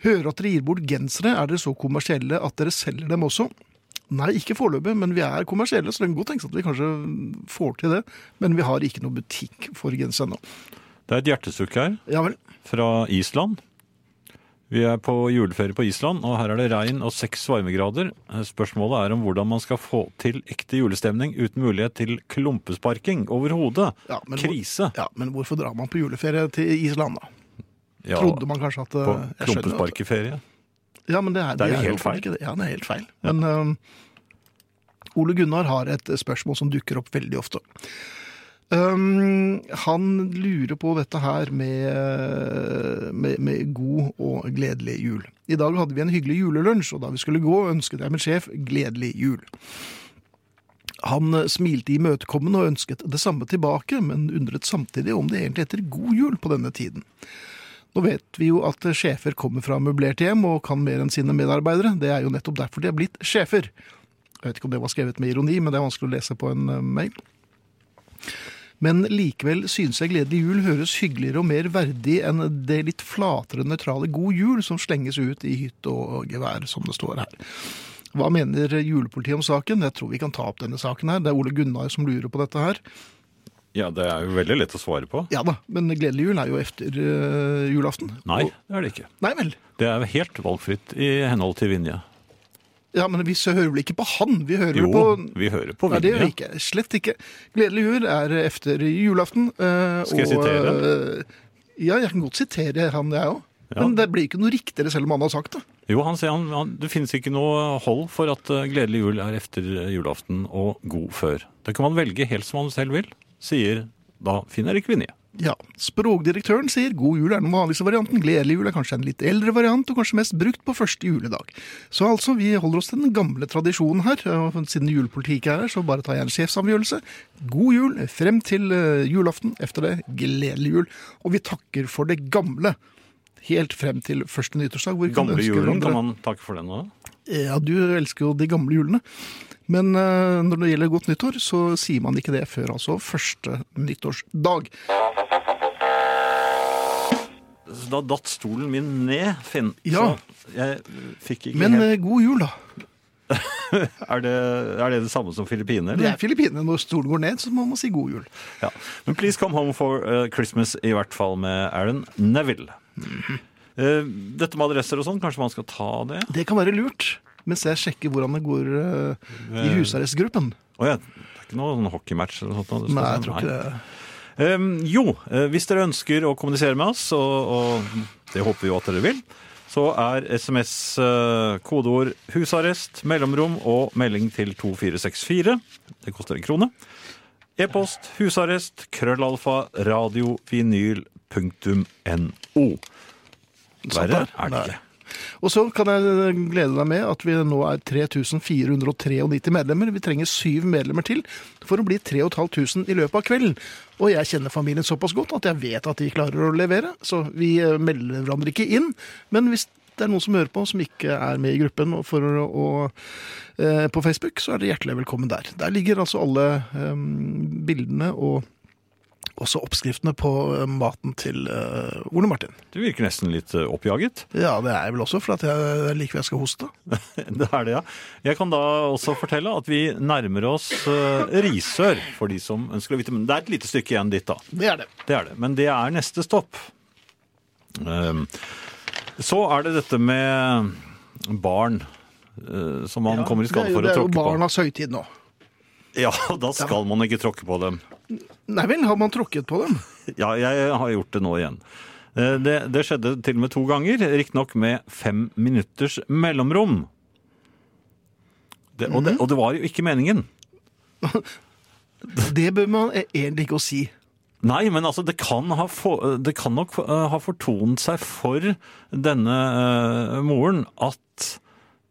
[SPEAKER 2] Hører at dere gir bort gensere, er dere så kommersielle at dere selger dem også? Nei, ikke foreløpig, men vi er kommersielle, så det kan godt tenkes at vi kanskje får til det. Men vi har ikke noe butikk for genser ennå.
[SPEAKER 3] Det er et hjertesukk her,
[SPEAKER 2] Ja vel.
[SPEAKER 3] fra Island. Vi er på juleferie på Island, og her er det regn og seks varmegrader. Spørsmålet er om hvordan man skal få til ekte julestemning uten mulighet til klumpesparking overhodet.
[SPEAKER 2] Ja, men hvor-
[SPEAKER 3] Krise.
[SPEAKER 2] Ja, men hvorfor drar man på juleferie til Island, da?
[SPEAKER 3] Ja,
[SPEAKER 2] Trodde man kanskje at eh,
[SPEAKER 3] på
[SPEAKER 2] jeg skjønner jo at-
[SPEAKER 3] klumpesparkeferie.
[SPEAKER 2] Ja, men det er,
[SPEAKER 3] Det er jo helt
[SPEAKER 2] åpenbart
[SPEAKER 3] feil.
[SPEAKER 2] ikke det. Ja, det er helt feil. Men øhm, Ole Gunnar har et eh, spørsmål som dukker opp veldig ofte. Øhm, han lurer på dette her med, med, med god og gledelig jul. I dag hadde vi en hyggelig julelunsj, og da vi skulle gå, ønsket jeg min sjef gledelig jul. Han eh, smilte imøtekommende og ønsket det samme tilbake, men undret samtidig om det egentlig heter god jul på denne tiden. Nå vet vi jo at sjefer kommer fra møblerte hjem og kan mer enn sine medarbeidere. Det er jo nettopp derfor de er blitt sjefer. Jeg vet ikke om det var skrevet med ironi, men det er vanskelig å lese på en eh, mail. Men likevel synes jeg Gledelig jul høres hyggeligere og mer verdig enn det litt flatere, nøytrale God jul som slenges ut i hytt og gevær, som det står her. Hva mener julepolitiet om saken? Jeg tror vi kan ta opp denne saken her. Det er Ole Gunnar som lurer på dette her.
[SPEAKER 3] Ja, det er jo veldig lett å svare på.
[SPEAKER 2] Ja da, men Gledelig jul er jo efter eh, julaften.
[SPEAKER 3] Nei,
[SPEAKER 2] Og,
[SPEAKER 3] det er det ikke.
[SPEAKER 2] nei vel.
[SPEAKER 3] Det er jo helt valgfritt i henhold til Vinje.
[SPEAKER 2] Ja, men vi hører vel ikke på han? Vi hører
[SPEAKER 3] Jo,
[SPEAKER 2] vel på
[SPEAKER 3] vi hører på
[SPEAKER 2] Nei, det gjør vi
[SPEAKER 3] Vinje.
[SPEAKER 2] ikke. Slett ikke. Gledelig jul er efter julaften. eh,
[SPEAKER 3] Skal jeg sitere?
[SPEAKER 2] eh, ja, jeg kan godt sitere han, jeg òg.
[SPEAKER 3] Ja.
[SPEAKER 2] Men det blir ikke noe riktigere selv om han har sagt det.
[SPEAKER 3] Jo, han sier han, han, det finnes ikke noe hold for at eh, gledelig jul er efter eh, julaften og god før. Det kan man velge helt som man selv vil, sier da Finn Erik Vinje.
[SPEAKER 2] Ja, Språkdirektøren sier god jul er den vanligste varianten. Gledelig jul er kanskje en litt eldre variant, og kanskje mest brukt på første juledag. Så altså, vi holder oss til den gamle tradisjonen her. og Siden julepolitikk er her, så bare tar jeg en sjefsavgjørelse. God jul frem til eh, julaften. Efter det, gledelig jul. Og vi takker for det gamle. Helt frem til første nyttårsdag. hvor vi kan
[SPEAKER 3] Gamle
[SPEAKER 2] ønske
[SPEAKER 3] julen,
[SPEAKER 2] hverandre-
[SPEAKER 3] kan man takke for den nå?
[SPEAKER 2] ja, du elsker jo de gamle julene. Men eh, når det gjelder godt nyttår, så sier man ikke det før altså første nyttårsdag.
[SPEAKER 3] så da datt stolen min ned, Finn.
[SPEAKER 2] Ja.
[SPEAKER 3] Så jeg fikk ikke
[SPEAKER 2] Men
[SPEAKER 3] helt
[SPEAKER 2] eh, god jul, da.
[SPEAKER 3] er det, er det det samme som Filippinene?
[SPEAKER 2] Det
[SPEAKER 3] eller?
[SPEAKER 2] er Filippinene. Når stolen går ned, så må man si god jul.
[SPEAKER 3] Ja. Men Please Come Home for eh, Christmas, i hvert fall med Aaron Neville.
[SPEAKER 2] Mhm.
[SPEAKER 3] Eh, dette med adresser og sånn, kanskje man skal ta det?
[SPEAKER 2] Det kan være lurt. Mens jeg sjekker hvordan det går eh, i husarrestgruppen.
[SPEAKER 3] Å ja, det er ikke noen hockeymatch eller noe sånt? da?
[SPEAKER 2] Nei, jeg tror ikke det.
[SPEAKER 3] Ehm, jo, eh, hvis dere ønsker å kommunisere med oss, og, og det håper vi jo at dere vil, så er SMS eh, kodeord 'husarrest', mellomrom og melding til 2464. Det koster en krone. E-post husarrest krøllalfa radiovinyl.no. Verre er det
[SPEAKER 2] Nei.
[SPEAKER 3] ikke.
[SPEAKER 2] Og så kan jeg eh, glede deg med at vi nå er 3493 medlemmer. Vi trenger syv medlemmer til for å bli 3500 i løpet av kvelden. Og jeg kjenner familien såpass godt at jeg vet at de klarer å levere. Så vi eh, melder hverandre ikke inn. Men hvis det er noen som hører på som ikke er med i gruppen og for å, og, eh, på Facebook, så er dere hjertelig velkommen der. Der ligger altså alle eh, bildene og også oppskriftene på eh, maten til eh, Ole Martin.
[SPEAKER 3] Du virker nesten litt eh, oppjaget.
[SPEAKER 2] Ja, det er jeg vel også, for at jeg likevel skal hoste.
[SPEAKER 3] Det er det, ja. Jeg kan da også fortelle at vi nærmer oss eh, Risør, for de som ønsker å vite. Men det er et lite stykke igjen dit, da.
[SPEAKER 2] Det er det.
[SPEAKER 3] Det er det. Men det er neste stopp. Ehm, Så er det dette med barn eh, som man kommer i skade for
[SPEAKER 2] det
[SPEAKER 3] å
[SPEAKER 2] er jo
[SPEAKER 3] tråkke på.
[SPEAKER 2] barnas høytid nå.
[SPEAKER 3] Ja, da skal man ikke tråkke på dem.
[SPEAKER 2] Nei vel, har man tråkket på dem?
[SPEAKER 3] Ja, jeg har gjort det nå igjen. Eh, Det, det skjedde til og med to ganger, riktignok med fem minutters mellomrom. Det, og,
[SPEAKER 2] Mhm.
[SPEAKER 3] det, og det var jo ikke meningen.
[SPEAKER 2] Det bør man e- egentlig ikke å si.
[SPEAKER 3] Nei, men altså, det kan, ha få- det kan nok eh, ha fortonet seg for denne eh, moren at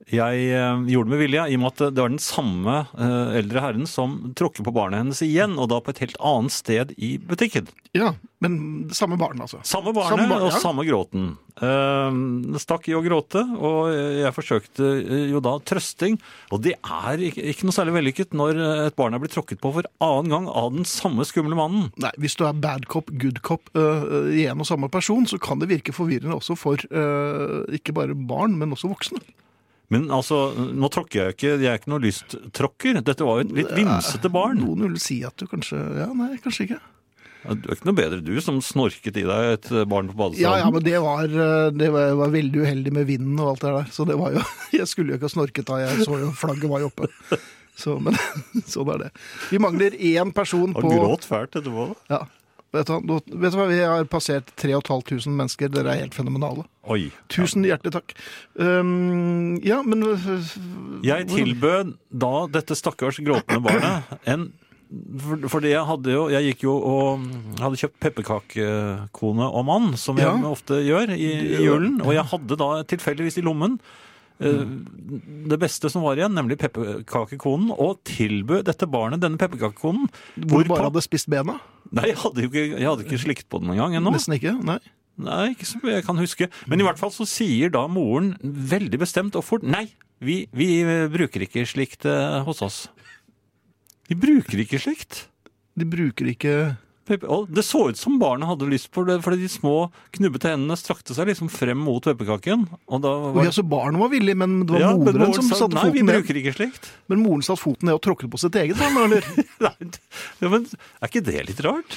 [SPEAKER 3] jeg eh, gjorde det med vilje, i og med at det var den samme eh, eldre herren som tråkker på barnet hennes igjen, og da på et helt annet sted i butikken.
[SPEAKER 2] Ja, men det samme barn, altså.
[SPEAKER 3] Samme barnet
[SPEAKER 2] Samme barn,
[SPEAKER 3] og
[SPEAKER 2] ja.
[SPEAKER 3] samme gråten. Eh, det stakk i å gråte, og jeg forsøkte eh, jo da trøsting. Og det er ikke, ikke noe særlig vellykket når eh, et barn er blitt tråkket på for annen gang av den samme skumle mannen.
[SPEAKER 2] Nei, hvis du er bad cop, good cop øh, i en og samme person, så kan det virke forvirrende også for øh, ikke bare barn, men også voksne.
[SPEAKER 3] Men altså, nå tråkker jeg ikke, jeg er ikke noe lysttråkker. Dette var jo et litt vimsete barn.
[SPEAKER 2] Noen vil si at du kanskje Ja, nei, kanskje ikke.
[SPEAKER 3] Du er ikke noe bedre du som snorket i deg et barn på
[SPEAKER 2] Ja, ja,
[SPEAKER 3] badestranden.
[SPEAKER 2] men det var, øh, det var, jeg var veldig uheldig med vinden og alt det der. Så det var jo Jeg skulle jo ikke ha snorket da jeg så jo flagget var jo oppe. Så, men sånn er det. Vi mangler én person på
[SPEAKER 3] Og gråt fælt etterpå. da.
[SPEAKER 2] Ja. Vet du, hva, nå- vet du hva, vi har passert 3500 mennesker. Dere er helt fenomenale.
[SPEAKER 3] Oi.
[SPEAKER 2] Tusen hjertelig takk. Um, ja, men
[SPEAKER 3] Jeg tilbød da dette stakkars gråtende barnet en for for det jeg hadde jo Jeg gikk jo og hadde kjøpt pepperkakekone og mann, som jeg
[SPEAKER 2] Ja.
[SPEAKER 3] ofte gjør i, i julen. Og jeg hadde da tilfeldigvis i lommen eh,
[SPEAKER 2] Mm.
[SPEAKER 3] det beste som var igjen, nemlig pepperkakekonen, og tilbød dette barnet denne pepperkakekonen.
[SPEAKER 2] Hvor bare hadde spist bena?
[SPEAKER 3] Nei, jeg hadde jo ikke, jeg hadde ikke slikt på den engang ennå.
[SPEAKER 2] Nesten ikke? Nei.
[SPEAKER 3] Nei, ikke som jeg kan huske. Men i hvert fall så sier da moren veldig bestemt og fort Nei, vi, vi bruker ikke slikt eh, hos oss. Vi bruker ikke slikt.
[SPEAKER 2] De bruker ikke
[SPEAKER 3] Pepper- Og det så ut som barnet hadde lyst på det, fordi de små, knubbete hendene strakte seg liksom frem mot pepperkaken. Og da
[SPEAKER 2] Oi,
[SPEAKER 3] var
[SPEAKER 2] altså Barnet var villig, men det var
[SPEAKER 3] Ja, men
[SPEAKER 2] moderen
[SPEAKER 3] moren
[SPEAKER 2] som
[SPEAKER 3] sa,
[SPEAKER 2] satte
[SPEAKER 3] Nei, vi
[SPEAKER 2] foten ned.
[SPEAKER 3] bruker ikke slikt.
[SPEAKER 2] Men moren satte foten ned og tråkket på sitt eget barn, eller?
[SPEAKER 3] Nei, det- ja, men er ikke det litt rart?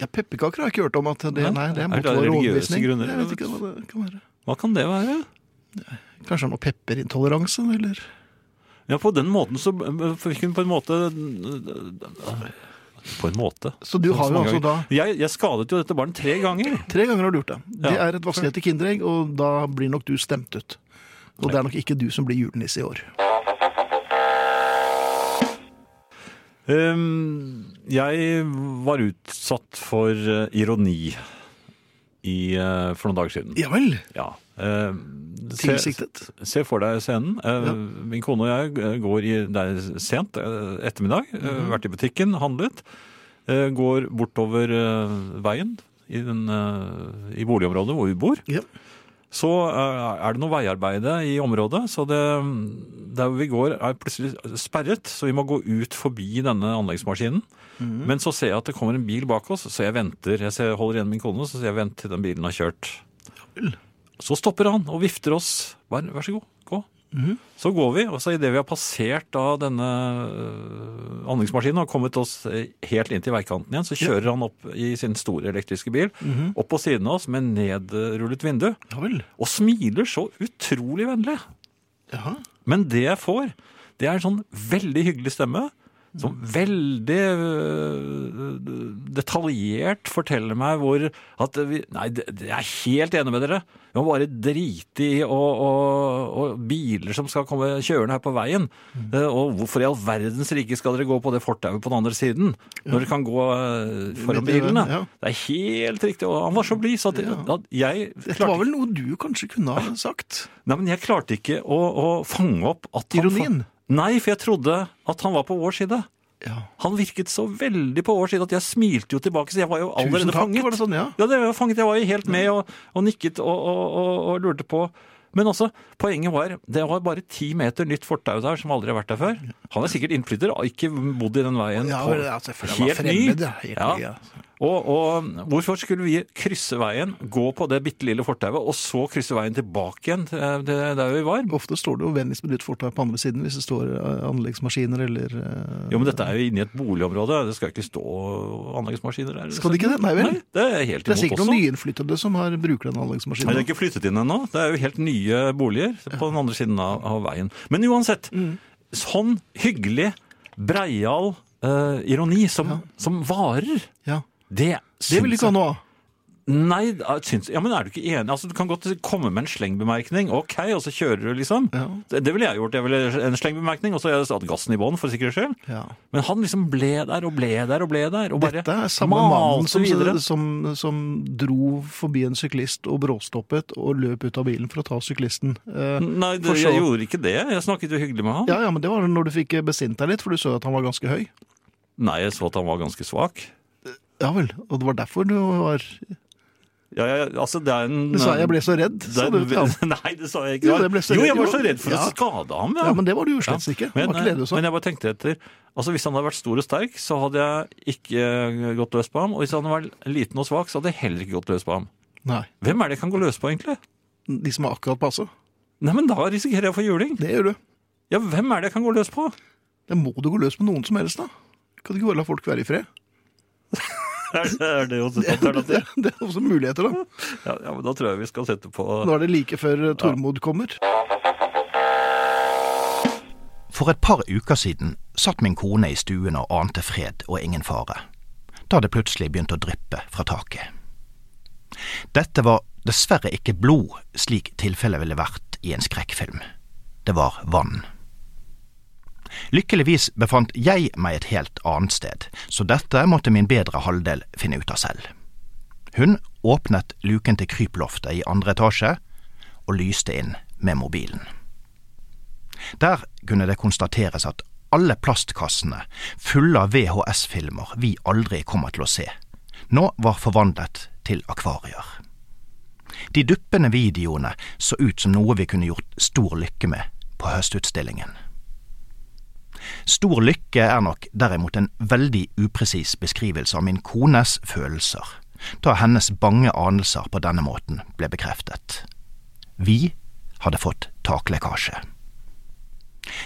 [SPEAKER 2] Ja, Pepperkaker har jeg ikke hørt om at det
[SPEAKER 3] Nei.
[SPEAKER 2] Nei, det
[SPEAKER 3] Er
[SPEAKER 2] måtte
[SPEAKER 3] det av
[SPEAKER 2] være
[SPEAKER 3] religiøse
[SPEAKER 2] overbevisning.
[SPEAKER 3] grunner?
[SPEAKER 2] Jeg vet ikke hva det kan være.
[SPEAKER 3] Hva kan det være?
[SPEAKER 2] Kanskje det er noe pepperintoleranse, eller?
[SPEAKER 3] Ja, på den måten så eh, fikk hun på en måte eh, På en måte.
[SPEAKER 2] Så du har jo
[SPEAKER 3] mange
[SPEAKER 2] altså da
[SPEAKER 3] ganger. jeg, jeg skadet jo dette barnet tre ganger.
[SPEAKER 2] Tre ganger har du gjort det. Det
[SPEAKER 3] Ja.
[SPEAKER 2] er et vaskehete kinderegg, og da blir nok du stemt ut. Og det er nok ikke du som blir julenisse i år.
[SPEAKER 3] Um, jeg var utsatt for eh, ironi i, eh, for noen dager siden.
[SPEAKER 2] Ja vel.
[SPEAKER 3] Ja. Eh, se-
[SPEAKER 2] Tilsiktet.
[SPEAKER 3] Se for deg scenen. Eh, Min kone og jeg eh, går i, det er sent eh, ettermiddag, eh,
[SPEAKER 2] Mhm.
[SPEAKER 3] vært i butikken, handlet. eh, Går bortover eh, veien i, den, eh, i boligområdet hvor vi bor.
[SPEAKER 2] Ja.
[SPEAKER 3] Så eh, er det noe veiarbeide i området, så det, der vi går er plutselig sperret, så vi må gå ut forbi denne anleggsmaskinen. Men så ser jeg at det kommer en bil bak oss, så jeg venter. Jeg ser, holder igjen min kone, så sier jeg vent til den bilen har kjørt.
[SPEAKER 2] vel.
[SPEAKER 3] Så stopper han og vifter oss. Bare, vær så god, gå. Så går vi, og så idet vi har passert da denne øh, anleggsmaskinen og kommet oss eh, helt inn til veikanten igjen, så kjører han opp i sin store elektriske bil, opp på siden av oss med nedrullet vindu,
[SPEAKER 2] Ja vel.
[SPEAKER 3] og smiler så utrolig vennlig.
[SPEAKER 2] Jaha.
[SPEAKER 3] Men det jeg får, det er en sånn veldig hyggelig stemme, som veldig øh, detaljert forteller meg hvor at vi, Nei, det- det- jeg er helt enig med dere. Vi må bare drite i og, og, og biler som skal komme kjørende her på veien.
[SPEAKER 2] Mm.
[SPEAKER 3] Eh, Og hvorfor i all verdens rike skal dere gå på det fortauet på den andre siden? Når dere kan gå eh, foran
[SPEAKER 2] Midt i veien,
[SPEAKER 3] bilene.
[SPEAKER 2] ja.
[SPEAKER 3] Det er helt riktig. Og han var så blid, så at, at jeg
[SPEAKER 2] Dette var vel noe du kanskje kunne ha sagt?
[SPEAKER 3] Nei, men jeg klarte ikke å, å fange opp at han
[SPEAKER 2] Ironien?
[SPEAKER 3] fa- Nei, for jeg trodde at han var på vår side.
[SPEAKER 2] Ja.
[SPEAKER 3] Han virket så veldig på vår side at jeg smilte jo tilbake, så jeg var jo allerede
[SPEAKER 2] Tusen takk,
[SPEAKER 3] fanget.
[SPEAKER 2] var det sånn, ja?
[SPEAKER 3] Ja, det var jo fanget. Jeg var jo helt med og, og nikket og, og, og, og lurte på. Men også, poenget var, det var bare ti meter nytt fortau der som aldri har vært der før. Han er sikkert innflytter og har ikke bodd i den veien.
[SPEAKER 2] Ja,
[SPEAKER 3] på-
[SPEAKER 2] vel, ja, selvfølgelig, han var
[SPEAKER 3] Helt ny.
[SPEAKER 2] fremmed, ja, helt ny, ja.
[SPEAKER 3] Og, og hvorfor skulle vi krysse veien, gå på det bitte lille fortauet, og så krysse veien tilbake igjen til til der vi var?
[SPEAKER 2] Ofte står det jo vennligst benytt fortau på andre siden hvis det står eh, anleggsmaskiner eller eh,
[SPEAKER 3] Jo, men dette er jo inne i et boligområde. Det skal ikke stå anleggsmaskiner der.
[SPEAKER 2] Skal det ikke det? Nei vel?
[SPEAKER 3] Nei, det er helt imot også.
[SPEAKER 2] Det er sikkert noen nyinnflyttede som har bruker den
[SPEAKER 3] Nei,
[SPEAKER 2] anleggsmaskinen.
[SPEAKER 3] det er ikke flyttet inn ennå. Det er jo helt nye boliger på den andre siden av, av veien. Men uansett,
[SPEAKER 2] Mm.
[SPEAKER 3] sånn hyggelig, breial eh, ironi som, som varer,
[SPEAKER 2] Ja.
[SPEAKER 3] det
[SPEAKER 2] Det
[SPEAKER 3] syns
[SPEAKER 2] vil ikke
[SPEAKER 3] jeg-
[SPEAKER 2] ha noe av.
[SPEAKER 3] Nei, da syns, ja, men er du ikke enig? Altså, du kan godt komme med en slengbemerkning, ok, og så kjører du, liksom. Det, det ville jeg gjort. Jeg ville en slengbemerkning, og så hadde jeg satt gassen i bånn, for sikkerhets skyld.
[SPEAKER 2] Ja.
[SPEAKER 3] Men han liksom ble der og ble der og ble der, og bare
[SPEAKER 2] Dette er samme mannen som, som, som dro forbi en syklist og bråstoppet og løp ut av bilen for å ta syklisten. Eh,
[SPEAKER 3] Nei, det,
[SPEAKER 2] for så-
[SPEAKER 3] jeg gjorde ikke det. Jeg snakket jo hyggelig med han.
[SPEAKER 2] ja, ja, men Det var når du fikk besint deg litt, for du så at han var ganske høy.
[SPEAKER 3] Nei, jeg så at han var ganske svak.
[SPEAKER 2] Ja vel, Og det var derfor du var
[SPEAKER 3] Ja, ja, altså det er en...
[SPEAKER 2] Du sa jeg ble så redd.
[SPEAKER 3] det
[SPEAKER 2] sa
[SPEAKER 3] er
[SPEAKER 2] du
[SPEAKER 3] en-
[SPEAKER 2] til han.
[SPEAKER 3] Nei, det sa jeg ikke.
[SPEAKER 2] Jo, jeg ble så
[SPEAKER 3] jo,
[SPEAKER 2] redd.
[SPEAKER 3] jeg var
[SPEAKER 2] Jo,
[SPEAKER 3] så redd for
[SPEAKER 2] ja.
[SPEAKER 3] å skade ham.
[SPEAKER 2] Ja, Men det var du jo slett ikke. Det
[SPEAKER 3] Men,
[SPEAKER 2] var ikke det du sa.
[SPEAKER 3] men jeg bare tenkte etter. Altså Hvis han hadde vært stor og sterk, så hadde jeg ikke eh, gått løs på ham. Og hvis han var liten og svak, så hadde jeg heller ikke gått løs på ham.
[SPEAKER 2] Nei,
[SPEAKER 3] Hvem er det jeg kan gå løs på, egentlig?
[SPEAKER 2] De som er akkurat passe.
[SPEAKER 3] Nei, men Da risikerer jeg å få juling.
[SPEAKER 2] Det gjør du.
[SPEAKER 3] Ja, hvem er det jeg kan gå løs på?
[SPEAKER 2] Da må du gå løs på noen som helst, da. Kan du ikke bare la folk være i fred?
[SPEAKER 3] Er det, er det jo et alternativ?
[SPEAKER 2] Det, det er også muligheter, da.
[SPEAKER 3] Ja, ja, men Da tror jeg vi skal sette på
[SPEAKER 2] Nå er det like før eh, Tormod kommer.
[SPEAKER 7] For et par uker siden satt min kone i stuen og ante fred og ingen fare, da det plutselig begynte å dryppe fra taket. Dette var dessverre ikke blod, slik tilfellet ville vært i en skrekkfilm. Det var vann. Lykkeligvis befant jeg meg et helt annet sted, så dette måtte min bedre halvdel finne ut av selv. Hun åpnet luken til kryploftet i andre etasje og lyste inn med mobilen. Der kunne det konstateres at alle plastkassene, fulle av VHS-filmer vi aldri kommer til å se, nå var forvandlet til akvarier. De duppende videoene så ut som noe vi kunne gjort stor lykke med på høstutstillingen. Stor lykke er nok derimot en veldig upresis beskrivelse av min kones følelser, da hennes bange anelser på denne måten ble bekreftet. Vi hadde fått taklekkasje.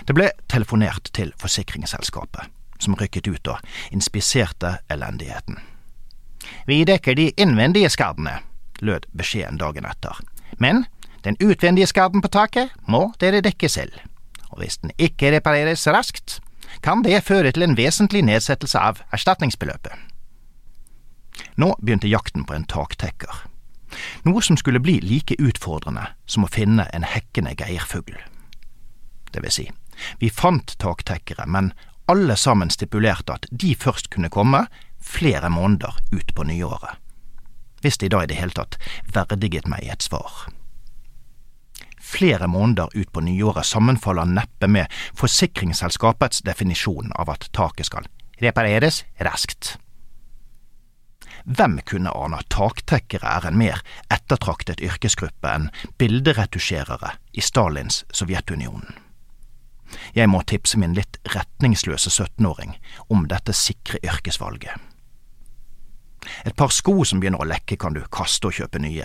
[SPEAKER 7] Det ble telefonert til forsikringsselskapet, som rykket ut og inspiserte elendigheten. Vi dekker de innvendige skadene, lød beskjeden dagen etter, men den utvendige skaden på taket må dere dekke selv, og hvis den ikke repareres raskt, kan det føre til en vesentlig nedsettelse av erstatningsbeløpet. Nå begynte jakten på en taktekker, noe som skulle bli like utfordrende som å finne en hekkende geirfugl det vil si. Vi fant taktekkere, men alle sammen stipulerte at de først kunne komme flere måneder ut på nyåret. Hvis de da i det hele tatt verdiget meg et svar. Flere måneder ut på nyåret sammenfaller neppe med forsikringsselskapets definisjon av at taket skal repareres raskt. Hvem kunne ane at taktekkere er en mer ettertraktet yrkesgruppe enn bilderetusjerere i Stalins Sovjetunionen? Jeg må tipse min litt retningsløse 17-åring om dette sikre yrkesvalget. Et par sko som begynner å lekke, kan du kaste og kjøpe nye.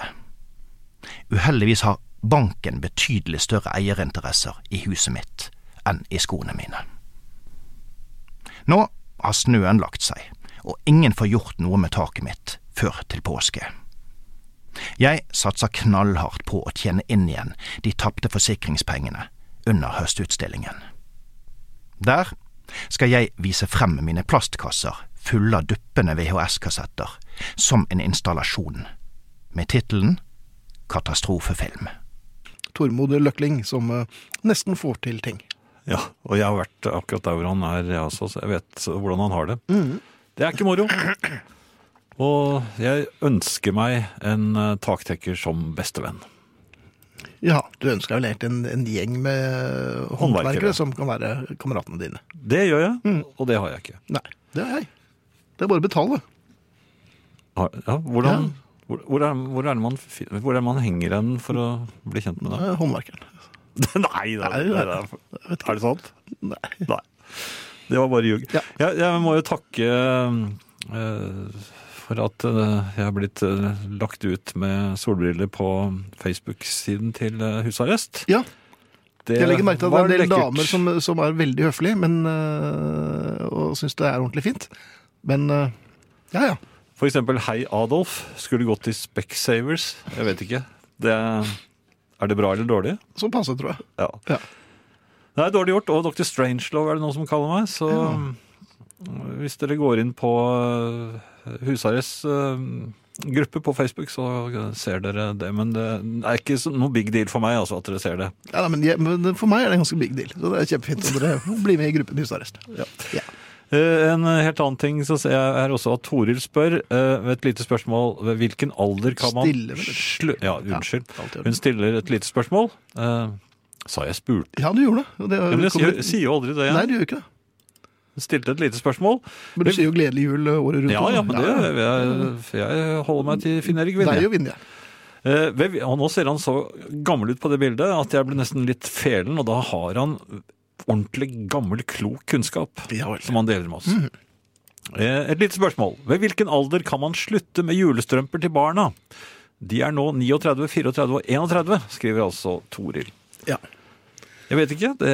[SPEAKER 7] Uheldigvis har banken betydelig større eierinteresser i huset mitt enn i skoene mine. Nå har snøen lagt seg, og ingen får gjort noe med taket mitt før til påske. Jeg satser knallhardt på å tjene inn igjen de tapte forsikringspengene under høstutstillingen. Der skal jeg vise frem mine plastkasser fulle av duppende VHS-kassetter som en installasjon, med tittelen Katastrofefilm.
[SPEAKER 2] Tormod Løkling, som eh, nesten får til ting.
[SPEAKER 3] Ja, og jeg har vært akkurat der hvor han er, jeg også, så jeg vet hvordan han har det. Det er ikke moro. Og jeg ønsker meg en eh, taktekker som bestevenn.
[SPEAKER 2] Ja, du ønsker deg vel egentlig en, en gjeng med eh, håndverkere
[SPEAKER 3] Håndverkere.
[SPEAKER 2] som kan være kameratene dine.
[SPEAKER 3] Det gjør jeg, og det har jeg ikke.
[SPEAKER 2] Nei, det er jeg. Det er bare å betale.
[SPEAKER 3] Har- Ja, hvordan, Hvor, hvor, er, hvor, er det man, fi- hvor er det man henger en for å bli kjent med
[SPEAKER 2] Det
[SPEAKER 3] deg?
[SPEAKER 2] er eh, Håndverkeren.
[SPEAKER 3] Nei, det
[SPEAKER 2] Nei,
[SPEAKER 3] er,
[SPEAKER 2] det
[SPEAKER 3] det
[SPEAKER 2] er-
[SPEAKER 3] er, er det sant? Nei. Det var bare ljug.
[SPEAKER 2] Ja.
[SPEAKER 3] Jeg, jeg må jo takke eh, for at eh, jeg er blitt eh, lagt ut med solbriller på Facebook-siden til eh, husarrest.
[SPEAKER 2] Ja,
[SPEAKER 3] Det
[SPEAKER 2] jeg legger merke til at det
[SPEAKER 3] var
[SPEAKER 2] er en del
[SPEAKER 3] lekkert.
[SPEAKER 2] damer som, som er veldig høflige men, øh, og syns det er ordentlig fint. Men øh, ja, ja.
[SPEAKER 3] For eksempel Hei Adolf skulle gått til Specsavers. Jeg vet ikke. Det, er det bra eller dårlig?
[SPEAKER 2] Sånn passe, tror jeg.
[SPEAKER 3] Ja.
[SPEAKER 2] Ja.
[SPEAKER 3] Det er dårlig gjort. Og Dr. Strangelove er det noen som kaller meg. Så hvis dere går inn på eh, Husarrest eh, gruppe på Facebook, så ser dere det. Men det er ikke så- noe big deal for meg altså, at dere ser det.
[SPEAKER 2] Ja, nei, men, jeg, men For meg er det en ganske big deal. Så det er kjempefint om dere blir med i gruppen Husarrest. Ja.
[SPEAKER 3] Eh, En helt annen ting så ser jeg er også at Toril spør eh, ved et lite spørsmål ved hvilken alder kan man
[SPEAKER 2] Stiller vel et-
[SPEAKER 3] slu... Ja, unnskyld.
[SPEAKER 2] Ja, alltid gjør det.
[SPEAKER 3] Hun stiller et lite spørsmål. Eh, sa jeg spurte?
[SPEAKER 2] ja, du gjorde det. og det
[SPEAKER 3] Ja, men jeg
[SPEAKER 2] kommer-
[SPEAKER 3] sier, sier jo aldri det.
[SPEAKER 2] Nei,
[SPEAKER 3] Jeg.
[SPEAKER 2] du gjør ikke det.
[SPEAKER 3] Hun stilte et lite spørsmål.
[SPEAKER 2] Men du sier jo 'gledelig jul' øh, året rundt.
[SPEAKER 3] Ja,
[SPEAKER 2] også.
[SPEAKER 3] ja, men det jeg, jeg holder meg til Finn-Erik
[SPEAKER 2] Deg
[SPEAKER 3] Vinje.
[SPEAKER 2] og Vinje.
[SPEAKER 3] Eh, ved- Og nå ser han så gammel ut på det bildet at jeg ble nesten litt felen, og da har han ordentlig gammel, klok kunnskap.
[SPEAKER 2] Ja vel. Mhm.
[SPEAKER 3] som han deler med oss. Eh, Et lite spørsmål. Ved hvilken alder kan man slutte med julestrømper til barna? De er nå 39, 34 og 31, skriver altså Toril.
[SPEAKER 2] Ja.
[SPEAKER 3] Jeg vet ikke. Det,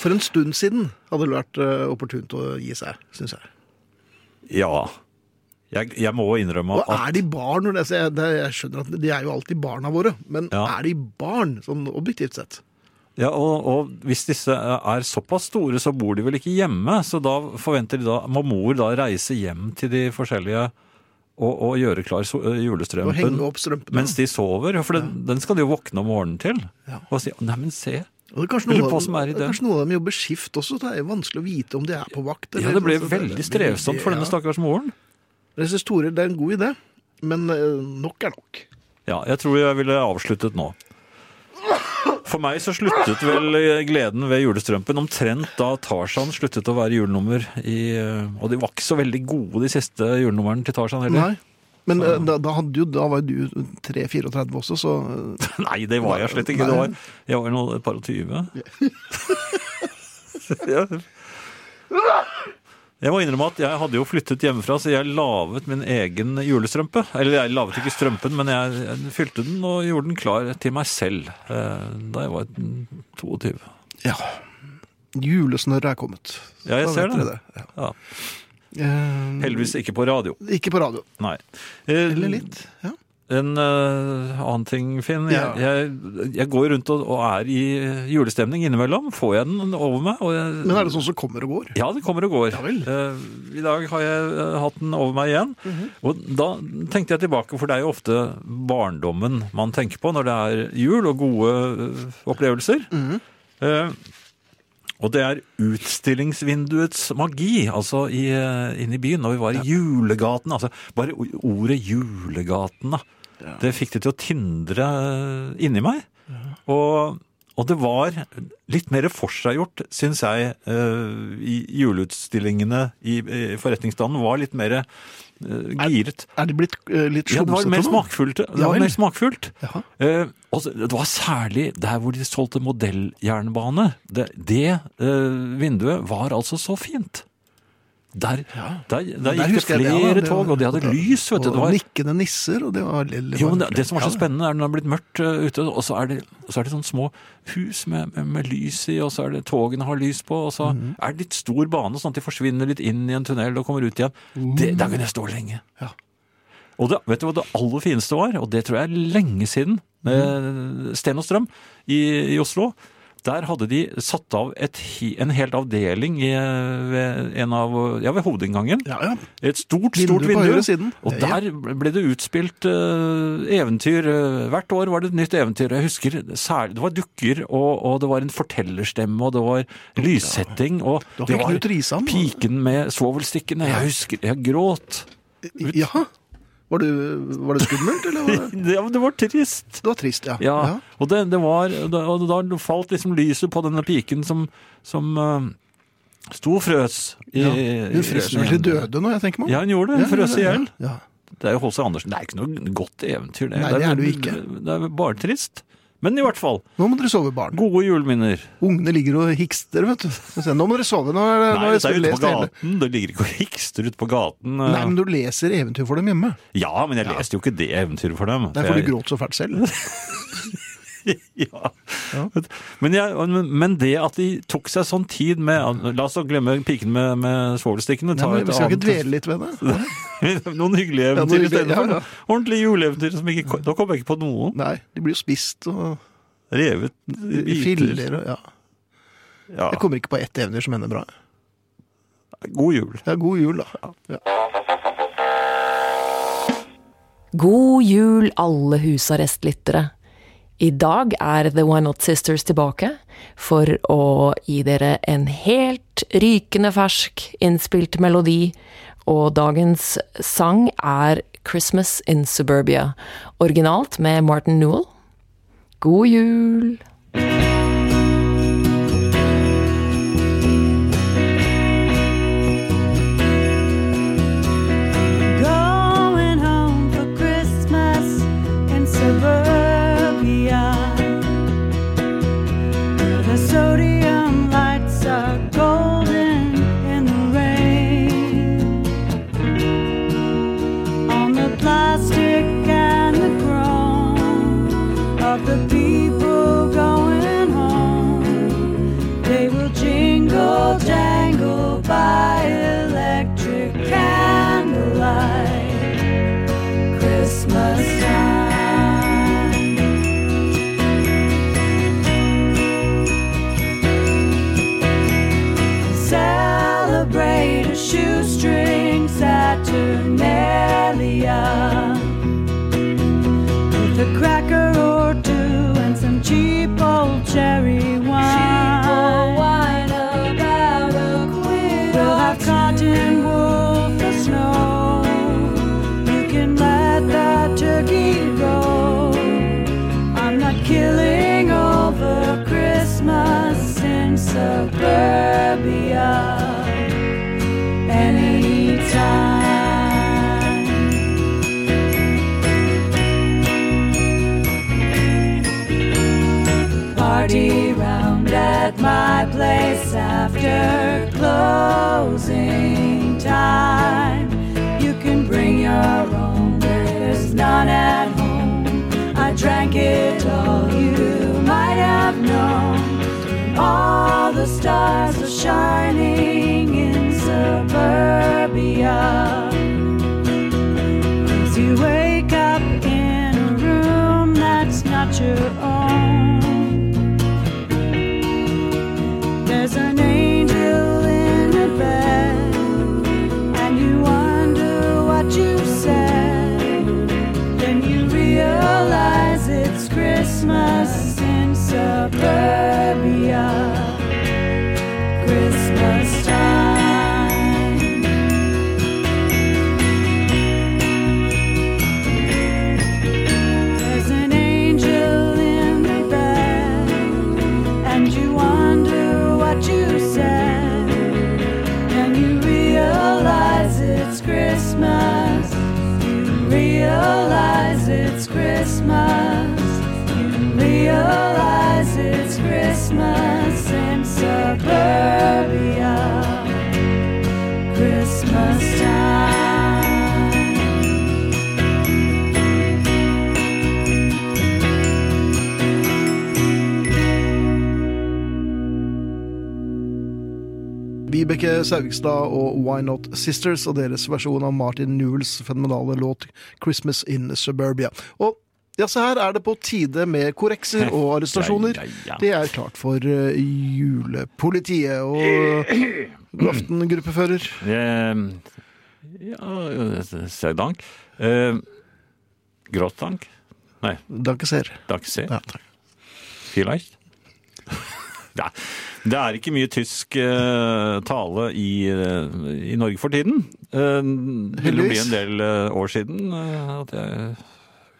[SPEAKER 2] For en stund siden hadde det vært øh, opportunt å gi seg, syns jeg.
[SPEAKER 3] ja. Jeg, jeg må innrømme
[SPEAKER 2] Og
[SPEAKER 3] at
[SPEAKER 2] er de barn? når det- så Jeg, det, jeg skjønner at de er jo alltid barna våre, men
[SPEAKER 3] Ja.
[SPEAKER 2] er de barn, sånn objektivt sett?
[SPEAKER 3] ja, og, og hvis disse eh, er såpass store, så bor de vel ikke hjemme. Så da forventer de da Må mor da reise hjem til de forskjellige og, og gjøre klar so- eh,
[SPEAKER 2] Å henge
[SPEAKER 3] julestrømpen
[SPEAKER 2] opp strømpene.
[SPEAKER 3] mens de sover? For den, den skal de jo våkne om morgenen til. Og si 'neimen, se'.
[SPEAKER 2] og det er kanskje
[SPEAKER 3] Lurer
[SPEAKER 2] noen, av
[SPEAKER 3] på
[SPEAKER 2] dem-
[SPEAKER 3] hva som er i
[SPEAKER 2] det er
[SPEAKER 3] det.
[SPEAKER 2] kanskje noen av dem jobber skift også, så det er jo vanskelig å vite om de er på vakt.
[SPEAKER 3] Ja,
[SPEAKER 2] eller- altså,
[SPEAKER 3] det ble
[SPEAKER 2] så
[SPEAKER 3] veldig strevsomt for denne
[SPEAKER 2] ja.
[SPEAKER 3] stakkars moren.
[SPEAKER 2] Jeg synes Tore, det er en god idé, men øh, nok er nok.
[SPEAKER 3] Ja, jeg tror jeg ville avsluttet nå. For meg så sluttet vel eh, gleden ved julestrømpen omtrent da Tarzan sluttet å være julenummer i eh, Og de var ikke så veldig gode, de siste julenumrene til Tarzan heller.
[SPEAKER 2] Nei. Men øh, da, da, hadde jo, da var jo du 3-34 også, så øh,
[SPEAKER 3] Nei, det var jeg slett ikke. Det var, jeg var nå et par og tyve. Jeg- Jeg må innrømme at jeg hadde jo flyttet hjemmefra, så jeg lavet min egen julestrømpe. Eller jeg lavet ikke strømpen, men jeg jeg fylte den og gjorde den klar til meg selv eh, da jeg var 22.
[SPEAKER 2] Ja. Julesnørret er kommet.
[SPEAKER 3] Ja, jeg
[SPEAKER 2] Da
[SPEAKER 3] ser
[SPEAKER 2] vet
[SPEAKER 3] det.
[SPEAKER 2] dere det.
[SPEAKER 3] Ja.
[SPEAKER 2] Eh,
[SPEAKER 3] Heldigvis ikke på radio.
[SPEAKER 2] Ikke på radio.
[SPEAKER 3] Nei. Eh,
[SPEAKER 2] Eller
[SPEAKER 3] Mm.
[SPEAKER 2] litt. Ja.
[SPEAKER 3] En eh, annen ting, Finn.
[SPEAKER 2] Ja.
[SPEAKER 3] Jeg, jeg, jeg går rundt og, og er i julestemning innimellom. Får jeg den over meg? Og jeg,
[SPEAKER 2] Men er det sånn som kommer og går?
[SPEAKER 3] Ja, det kommer og går.
[SPEAKER 2] Ja vel.
[SPEAKER 3] Eh, I dag har jeg eh, hatt den over meg igjen.
[SPEAKER 2] Mhm.
[SPEAKER 3] Og da tenkte jeg tilbake, for det er jo ofte barndommen man tenker på når det er jul og gode eh, opplevelser.
[SPEAKER 2] Mhm.
[SPEAKER 3] Eh, og det er utstillingsvinduets magi, altså i, eh, inne i byen, når vi var i julegaten. Altså, bare o- ordet julegaten, da. Det fikk det til å tindre eh, inni meg. Og, og det var litt mer forseggjort, syns jeg, eh, i juleutstillingene i, i forretningsstanden. Var litt mer eh, giret.
[SPEAKER 2] Er det blitt eh, litt
[SPEAKER 3] Ja, det var mer
[SPEAKER 2] slumsete nå?
[SPEAKER 3] smakfullt. Det
[SPEAKER 2] Ja
[SPEAKER 3] var
[SPEAKER 2] vel.
[SPEAKER 3] mer smakfullt.
[SPEAKER 2] Jaha.
[SPEAKER 3] Eh, og så- det var særlig der hvor de solgte modelljernbane. Det, det eh, vinduet var altså så fint. Der, der,
[SPEAKER 2] Der
[SPEAKER 3] der gikk det
[SPEAKER 2] husker jeg
[SPEAKER 3] flere
[SPEAKER 2] ja, det var-
[SPEAKER 3] tog, og de hadde lys, vet du.
[SPEAKER 2] Og
[SPEAKER 3] Det var,
[SPEAKER 2] nikkende nisser, og det var lille
[SPEAKER 3] jo, men det, det som var så spennende, er når det har blitt mørkt eh, ute, og så er det, så er det sånne små hus med, med, med lys i, og så er det togene har lys på, og så er det litt stor bane, sånn at de forsvinner litt inn i en tunnel og kommer ut igjen. Det, der kunne jeg stå lenge.
[SPEAKER 2] Ja.
[SPEAKER 3] Og det, vet du hva det aller fineste var, og det tror jeg er lenge siden, med Sten og Strøm i, i Oslo. Der hadde de satt av et, he- en hel avdeling i, eh, ved, en av, ja, ved hovedinngangen.
[SPEAKER 2] Ja, ja.
[SPEAKER 3] Et stort,
[SPEAKER 2] Vindu
[SPEAKER 3] stort
[SPEAKER 2] på
[SPEAKER 3] vindu.
[SPEAKER 2] høyre siden.
[SPEAKER 3] Og
[SPEAKER 2] Ja, ja.
[SPEAKER 3] der ble det utspilt eh, eventyr. eh, Hvert år var det et nytt eventyr. Jeg husker særlig, Det var dukker, og, og det var en fortellerstemme, og det var lyssetting. Og
[SPEAKER 2] Det var Knut Risan.
[SPEAKER 3] piken med svovelstikkene. Jeg husker Jeg gråt.
[SPEAKER 2] Jaha. Var det, var det skummelt, eller var det
[SPEAKER 3] Det, det var trist.
[SPEAKER 2] Det var trist, ja.
[SPEAKER 3] Ja,
[SPEAKER 2] Ja.
[SPEAKER 3] og det, det var da, Og da falt liksom lyset på denne piken som, som eh, sto og frøs. I,
[SPEAKER 2] Ja.
[SPEAKER 3] i-
[SPEAKER 2] Hun frøs
[SPEAKER 3] i-
[SPEAKER 2] vel til døde nå, jeg tenker meg om.
[SPEAKER 3] Ja, hun gjorde det. Hun frøs i hjel.
[SPEAKER 2] Ja.
[SPEAKER 3] Det er jo H.C. Andersen. Det er ikke noe godt eventyr, det.
[SPEAKER 2] Nei, det er det jo
[SPEAKER 3] Det er bare trist. Men i hvert fall,
[SPEAKER 2] Nå må dere sove, barn.
[SPEAKER 3] gode juleminner.
[SPEAKER 2] Ungene ligger og hikster, vet du. Så sier jeg, Nå må dere sove. Nå er det, nå
[SPEAKER 3] Nei,
[SPEAKER 2] har jeg
[SPEAKER 3] det er ute på
[SPEAKER 2] lest hele.
[SPEAKER 3] gaten. Det ligger ikke og hikster ute på gaten.
[SPEAKER 2] Nei, men du leser eventyr for dem hjemme.
[SPEAKER 3] Ja, men jeg leste jo ikke det eventyret for dem.
[SPEAKER 2] Det er fordi
[SPEAKER 3] Jeg-
[SPEAKER 2] du gråt så fælt selv.
[SPEAKER 3] ja. Men, jeg, men- men det at de tok seg sånn tid med La oss da glemme piken med, med svovelstikkene.
[SPEAKER 2] Nei,
[SPEAKER 3] ta
[SPEAKER 2] men
[SPEAKER 3] et
[SPEAKER 2] vi skal ikke
[SPEAKER 3] annet-
[SPEAKER 2] dvele litt ved det.
[SPEAKER 3] Noen hyggelige
[SPEAKER 2] Ja, noen
[SPEAKER 3] eventyr i
[SPEAKER 2] hyggelige-
[SPEAKER 3] stedet for.
[SPEAKER 2] ja, ja.
[SPEAKER 3] Ordentlige juleeventyr som ikke kom- Da kom jeg ikke på noen.
[SPEAKER 2] Nei, de blir jo spist og
[SPEAKER 3] Revet i
[SPEAKER 2] i
[SPEAKER 3] biter.
[SPEAKER 2] filler og ja.
[SPEAKER 3] Ja.
[SPEAKER 2] Jeg kommer ikke på ett eventyr som ender bra.
[SPEAKER 3] God jul.
[SPEAKER 2] Ja, god jul, da. Ja.
[SPEAKER 8] God jul, alle husarrestlyttere. I dag er The Why Not Sisters tilbake for å gi dere en helt rykende fersk innspilt melodi. Og dagens sang er Christmas in Suburbia, originalt med Martin Newell. God jul!
[SPEAKER 6] Going home for Christmas in suburbia. The sodium lights are golden in the rain. On the plastic and the groan of the people going home, they will jingle jangle by electric candlelight. Christmas time. Celebrate a shoestring Saturnalia with a cracker or two and some cheap old cherry wine. We'll have cotton wool for snow. You can let that turkey go. I'm not killing over Christmas in suburbia anytime. party round at my place after closing time. You can bring your own, there's none at home. I drank it all, you might have known. All the stars are shining in suburbia. As you wake up in a room that's not your own, there's an angel in a bed, and you wonder what you said. Then you realize it's Christmas in suburbia. Christmas time. There's an angel in the bed, and you wonder what you said. And you realize it's Christmas. You realize it's Christmas. You realize it's Christmas in suburbia. Christmas.
[SPEAKER 2] eh, Saugstad og Why Not Sisters og deres versjon av Martin Newells fenomenale låt 'Christmas in Suburbia'. Og ja, så her er det på tide med korrekser og arrestasjoner.
[SPEAKER 3] Ja, ja, ja.
[SPEAKER 2] Det er klart for eh, julepolitiet. Og god aften, gruppefører.
[SPEAKER 3] Ehm, ja, Saudank. Um, Gråtank. Nei,
[SPEAKER 2] Danke ser.
[SPEAKER 3] Dagsel.
[SPEAKER 2] Ja, takk.
[SPEAKER 3] Vielleicht. Det er, det er ikke mye tysk eh, tale i, eh, i Norge for tiden. Eh, det ville bli
[SPEAKER 2] Heldigvis.
[SPEAKER 3] en del eh, år siden eh, at jeg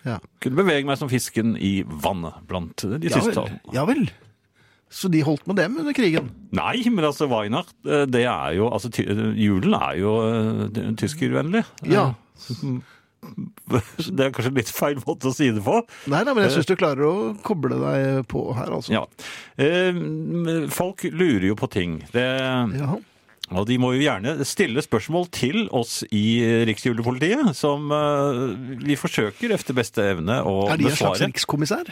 [SPEAKER 2] Ja.
[SPEAKER 3] kunne bevege meg som fisken i vannet blant de
[SPEAKER 2] Ja
[SPEAKER 3] tyske
[SPEAKER 2] vel.
[SPEAKER 3] talene.
[SPEAKER 2] ja vel. Så de holdt med dem under krigen?
[SPEAKER 3] Nei, men altså Weihnacht, eh, det er jo altså, ty Julen er jo eh, tyskervennlig. Eh,
[SPEAKER 2] Ja.
[SPEAKER 3] Det er kanskje litt feil måte å si det på.
[SPEAKER 2] Nei, nei, men jeg syns du klarer å koble deg på her, altså.
[SPEAKER 3] Eh. Ja. Eh, Folk lurer jo på ting. Det,
[SPEAKER 2] Ja.
[SPEAKER 3] Og de må jo gjerne stille spørsmål til oss i Riksjulepolitiet, som eh, vi forsøker efter beste evne å
[SPEAKER 2] Er de en slags
[SPEAKER 3] besvare.
[SPEAKER 2] rikskommissær?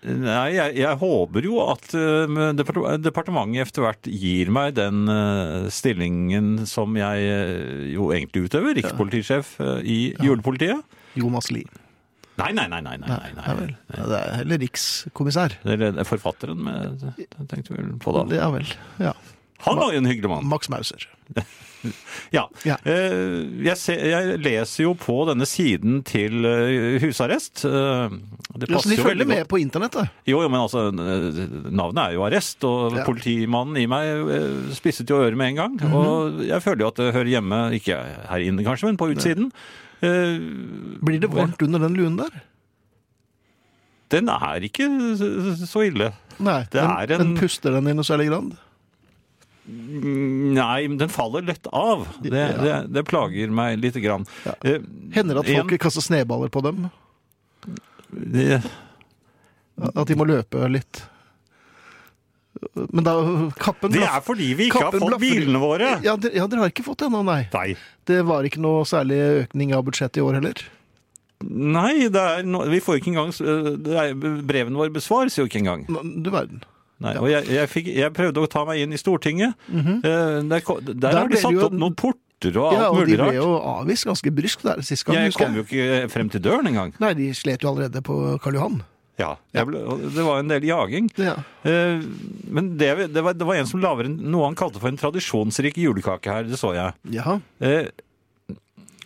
[SPEAKER 3] Nei, jeg, jeg håper jo at eh, depart- departementet etter hvert gir meg den eh, stillingen som jeg eh, jo egentlig utøver, rikspolitisjef eh, i julepolitiet.
[SPEAKER 2] Jonas Lie.
[SPEAKER 3] Nei, nei, nei, nei, nei, nei,
[SPEAKER 2] Ja vel.
[SPEAKER 3] nei.
[SPEAKER 2] Ja, det er heller rikskommissær.
[SPEAKER 3] Eller det er forfatteren, med, jeg tenkte vel på da.
[SPEAKER 2] Ja vel. Ja.
[SPEAKER 3] Han var jo en hyggelig mann.
[SPEAKER 2] Max Mauser.
[SPEAKER 3] Ja.
[SPEAKER 2] Ja.
[SPEAKER 3] Eh, Jeg, ser, jeg leser jo på denne siden til eh, husarrest. Eh, Det
[SPEAKER 2] Ja, så
[SPEAKER 3] passer
[SPEAKER 2] de
[SPEAKER 3] jo
[SPEAKER 2] følger
[SPEAKER 3] veldig
[SPEAKER 2] med
[SPEAKER 3] godt.
[SPEAKER 2] på internettet?
[SPEAKER 3] Jo, jo, men altså, eh, navnet er jo arrest,
[SPEAKER 2] Ja.
[SPEAKER 3] og
[SPEAKER 2] Mhm.
[SPEAKER 3] politimannen i meg eh, spisset jo øret med en gang. Og jeg føler jo at det hører hjemme, ikke her inne kanskje, men på utsiden. Eh,
[SPEAKER 2] Blir det varmt under den luen der?
[SPEAKER 3] Den er ikke s- så ille.
[SPEAKER 2] Nei,
[SPEAKER 3] Det
[SPEAKER 2] den,
[SPEAKER 3] er en-
[SPEAKER 2] den puster den i noe særlig grad?
[SPEAKER 3] Mm, Nei, men den faller lett av. Det,
[SPEAKER 2] Ja.
[SPEAKER 3] det, det plager meg lite grann.
[SPEAKER 2] Ja.
[SPEAKER 3] Eh,
[SPEAKER 2] Hender det at folk
[SPEAKER 3] en-
[SPEAKER 2] kaster sneballer på dem?
[SPEAKER 3] det-
[SPEAKER 2] At de må løpe litt? Men da Kappen
[SPEAKER 3] Det
[SPEAKER 2] blaff-
[SPEAKER 3] er fordi vi ikke har
[SPEAKER 2] Kappen
[SPEAKER 3] fått
[SPEAKER 2] blaffer.
[SPEAKER 3] bilene våre.
[SPEAKER 2] Ja, dere, ja, dere har ikke fått det ennå, nei.
[SPEAKER 3] Nei.
[SPEAKER 2] Det var ikke noe særlig økning av budsjettet i år heller.
[SPEAKER 3] Nei, det er no, vi får ikke engang eh, det er, Brevene våre besvares jo ikke engang.
[SPEAKER 2] Nå, Du verden.
[SPEAKER 3] Nei, og jeg, jeg, fikk, jeg prøvde å ta meg inn i Stortinget. Eh, Der, ko- der,
[SPEAKER 2] Der
[SPEAKER 3] har de
[SPEAKER 2] Mhm. ble
[SPEAKER 3] satt
[SPEAKER 2] det jo-
[SPEAKER 3] opp noen porter og alt
[SPEAKER 2] Ja, og de
[SPEAKER 3] mulig
[SPEAKER 2] ble
[SPEAKER 3] rart.
[SPEAKER 2] jo avvist ganske bryskt der sist gang.
[SPEAKER 3] Jeg
[SPEAKER 2] husker
[SPEAKER 3] kom jo ikke eh, frem til døren engang.
[SPEAKER 2] Nei, de slet jo allerede på Karl Johan.
[SPEAKER 3] Ja, jeg ble, og det var en del jaging.
[SPEAKER 2] Ja.
[SPEAKER 3] Eh, Men det, det, var, det var en som lager en- noe han kalte for en tradisjonsrik julekake her, det så jeg.
[SPEAKER 2] Jaha.
[SPEAKER 3] Eh,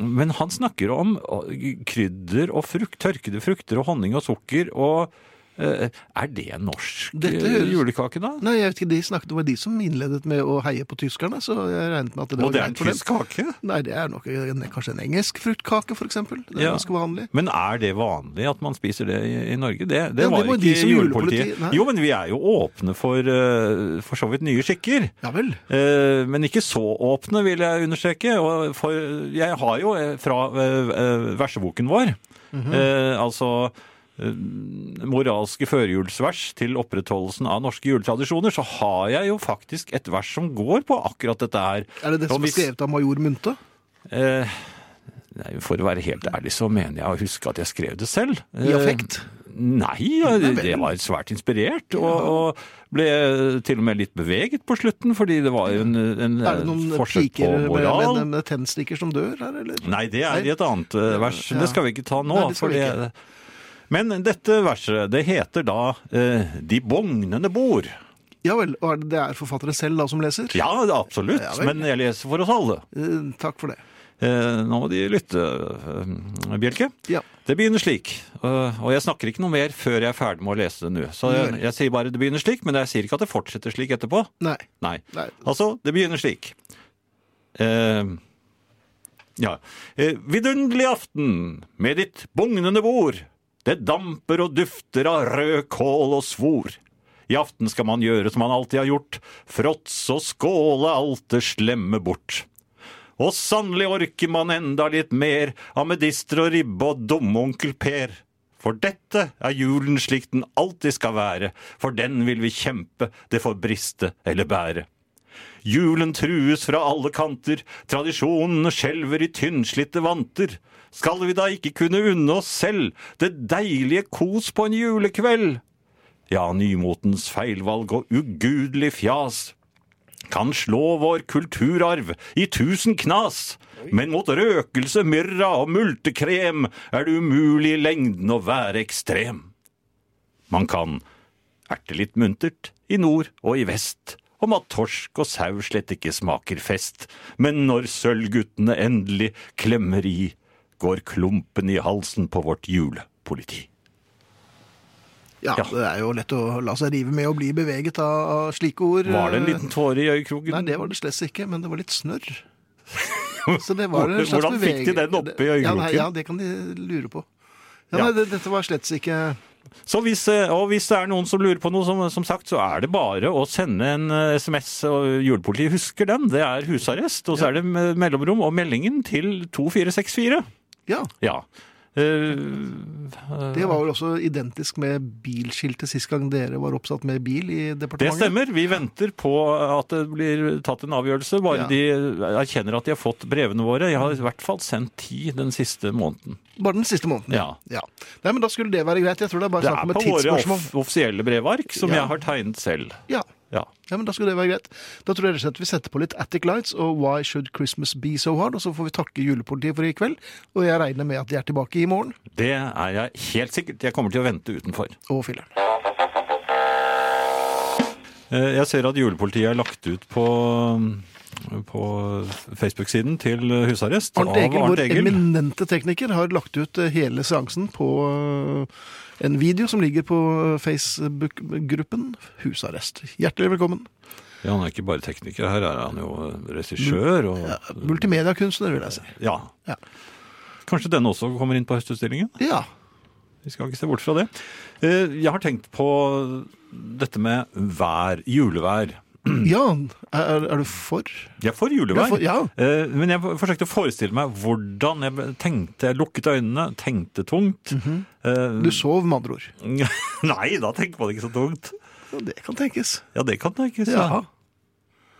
[SPEAKER 3] Men han snakker om eh, krydder og frukt, tørkede frukter og honning og sukker og eh, Er det en norsk
[SPEAKER 2] Dette
[SPEAKER 3] eh,
[SPEAKER 2] høres-
[SPEAKER 3] julekake, da?
[SPEAKER 2] Nei, jeg vet ikke, de snakket om de som innledet med å heie på tyskerne, så jeg regnet med at det
[SPEAKER 3] Og
[SPEAKER 2] var
[SPEAKER 3] det er en
[SPEAKER 2] greit for dem.
[SPEAKER 3] tysk kake?
[SPEAKER 2] Nei, det er nok en, kanskje en engelsk fruktkake, for eksempel. Det er
[SPEAKER 3] Ja.
[SPEAKER 2] ganske vanlig.
[SPEAKER 3] Men er det vanlig at man spiser det i, i Norge? Det, det
[SPEAKER 2] Ja, det
[SPEAKER 3] var
[SPEAKER 2] må de
[SPEAKER 3] ikke
[SPEAKER 2] som
[SPEAKER 3] julepolitiet.
[SPEAKER 2] julepoliti- nei.
[SPEAKER 3] Jo, men vi er jo åpne for eh, for så vidt nye skikker.
[SPEAKER 2] Ja vel.
[SPEAKER 3] Eh, Men ikke så åpne, vil jeg understreke. Og for jeg har jo eh, fra eh, eh, verseboken vår,
[SPEAKER 2] Mhm.
[SPEAKER 3] eh, altså eh, moralske førjulsvers til opprettholdelsen av norske juletradisjoner, så har jeg jo faktisk et vers som går på akkurat dette her.
[SPEAKER 2] Er det det
[SPEAKER 3] Og
[SPEAKER 2] som er
[SPEAKER 3] hvis-
[SPEAKER 2] skrevet av major Munte?
[SPEAKER 3] Eh, Nei, for å være helt ærlig så mener jeg å huske at jeg skrev det selv.
[SPEAKER 2] I
[SPEAKER 3] Eh,
[SPEAKER 2] affekt?
[SPEAKER 3] Nei,
[SPEAKER 2] Nei vel.
[SPEAKER 3] jeg var svært inspirert, og, og ble til og med litt beveget på slutten, fordi det var jo en, en
[SPEAKER 2] Er det noen
[SPEAKER 3] eh, forskjell på
[SPEAKER 2] piker med,
[SPEAKER 3] moral.
[SPEAKER 2] med, med tennstikker som dør her, eller?
[SPEAKER 3] Nei, det er
[SPEAKER 2] Nei.
[SPEAKER 3] i et annet eh, vers.
[SPEAKER 2] Ja.
[SPEAKER 3] Det skal vi ikke ta nå.
[SPEAKER 2] Nei, det skal vi
[SPEAKER 3] fordi- Men dette verset, det heter da eh, De bognende bor.
[SPEAKER 2] Ja vel, og er det, det er forfatteren selv da som leser?
[SPEAKER 3] Ja, absolutt,
[SPEAKER 2] Ja vel.
[SPEAKER 3] men jeg leser for oss alle.
[SPEAKER 2] Eh, takk for det.
[SPEAKER 3] Eh, nå må de lytte, eh, Bjelke.
[SPEAKER 2] Ja.
[SPEAKER 3] Det begynner slik, øh, og jeg snakker ikke noe mer før jeg er ferdig med å lese det nå. Så jeg, jeg sier bare det begynner slik, men jeg sier ikke at det fortsetter slik etterpå.
[SPEAKER 2] Nei.
[SPEAKER 3] Nei.
[SPEAKER 2] Nei.
[SPEAKER 3] Altså, det begynner slik. Eh, ja. Eh, vidunderlig aften med ditt bugnende bord. Det damper og dufter av rød kål og svor. I aften skal man gjøre som man alltid har gjort, fråtse og skåle alt det slemme bort. Og sannelig orker man enda litt mer av medister og ribbe og dumme onkel Per. For dette er julen slik den alltid skal være, for den vil vi kjempe, det får briste eller bære. Julen trues fra alle kanter, tradisjonene skjelver i tynnslitte vanter. Skal vi da ikke kunne unne oss selv det deilige kos på en julekveld? Ja, nymotens feilvalg og ugudelig fjas kan slå vår kulturarv i tusen knas. Men mot røkelse, myrra og multekrem er det umulig i lengden å være ekstrem. Man kan erte litt muntert i nord og i vest om at torsk og sau slett ikke smaker fest, men når sølvguttene endelig klemmer i, går klumpen i halsen på vårt julepoliti.
[SPEAKER 2] Ja,
[SPEAKER 3] Ja.
[SPEAKER 2] det er jo lett å la seg rive med og bli beveget av, av slike ord. eh,
[SPEAKER 3] Var det en liten tåre i øyekroken?
[SPEAKER 2] Nei, det var det slett ikke, men det var litt snørr. Så det var en slags
[SPEAKER 3] Hvordan fikk de
[SPEAKER 2] bevege-
[SPEAKER 3] den oppe i
[SPEAKER 2] Ja, nei,
[SPEAKER 3] øyekroken?
[SPEAKER 2] ja, det kan de lure på. Ja,
[SPEAKER 3] Ja.
[SPEAKER 2] Nei, det, dette var slett ikke
[SPEAKER 3] Så hvis, eh, og hvis det er noen som lurer på noe, som, som sagt, så er det bare å sende en eh, SMS, og julepolitiet husker den. Det er husarrest, og så er det me- mellomrom og meldingen til 2464.
[SPEAKER 2] Ja,
[SPEAKER 3] Ja. Eh,
[SPEAKER 2] det var vel også identisk med bilskiltet sist gang dere var oppsatt med bil i departementet.
[SPEAKER 3] det stemmer. Vi venter på at det blir tatt en avgjørelse, bare
[SPEAKER 2] Ja.
[SPEAKER 3] de erkjenner at de har fått brevene våre. Jeg har i hvert fall sendt ti den siste måneden.
[SPEAKER 2] Bare den siste måneden.
[SPEAKER 3] Ja.
[SPEAKER 2] Nei, men da skulle det være greit. Jeg tror det er bare
[SPEAKER 3] Det
[SPEAKER 2] snakk
[SPEAKER 3] er
[SPEAKER 2] om et
[SPEAKER 3] på våre
[SPEAKER 2] tidsspørsmål.
[SPEAKER 3] off offisielle brevark, som
[SPEAKER 2] Ja.
[SPEAKER 3] jeg har tegnet selv.
[SPEAKER 2] Ja.
[SPEAKER 3] Ja.
[SPEAKER 2] ja, men da skulle det være greit. Da tror jeg rett og slett vi setter på litt Attic Lights og Why Should Christmas Be So Hard, og så får vi takke julepolitiet for i kveld. Og jeg regner med at de er tilbake i morgen.
[SPEAKER 3] Det er jeg helt sikkert. Jeg kommer til å vente utenfor.
[SPEAKER 2] Og filler'n.
[SPEAKER 3] Eh, Jeg ser at julepolitiet er lagt ut på, på Facebook-siden til husarrest.
[SPEAKER 2] Arnt
[SPEAKER 3] av
[SPEAKER 2] Egil,
[SPEAKER 3] Arnt
[SPEAKER 2] vår
[SPEAKER 3] Egil.
[SPEAKER 2] eminente tekniker, har lagt ut eh, hele seansen på eh, en video som ligger på eh, Facebook-gruppen Husarrest. Hjertelig velkommen.
[SPEAKER 3] Ja, han er ikke bare tekniker, her er han jo regissør. Og,
[SPEAKER 2] Multimediakunstner, vil jeg si.
[SPEAKER 3] ja.
[SPEAKER 2] Ja.
[SPEAKER 3] Kanskje denne også kommer inn på Høstutstillingen?
[SPEAKER 2] Ja.
[SPEAKER 3] Vi skal ikke se bort fra det. Eh, Jeg har tenkt på dette med vær, julevær.
[SPEAKER 2] Jan, er, er du for?
[SPEAKER 3] Jeg får julevær.
[SPEAKER 2] Ja, for- ja.
[SPEAKER 3] Eh, Men jeg forsøkte å forestille meg hvordan jeg tenkte. Jeg lukket øynene, tenkte tungt. Eh,
[SPEAKER 2] Mhm. Du sov, med andre ord.
[SPEAKER 3] Nei, da tenker man ikke så tungt.
[SPEAKER 2] Ja, det kan tenkes.
[SPEAKER 3] Ja, det kan jeg ikke si.
[SPEAKER 2] Ja.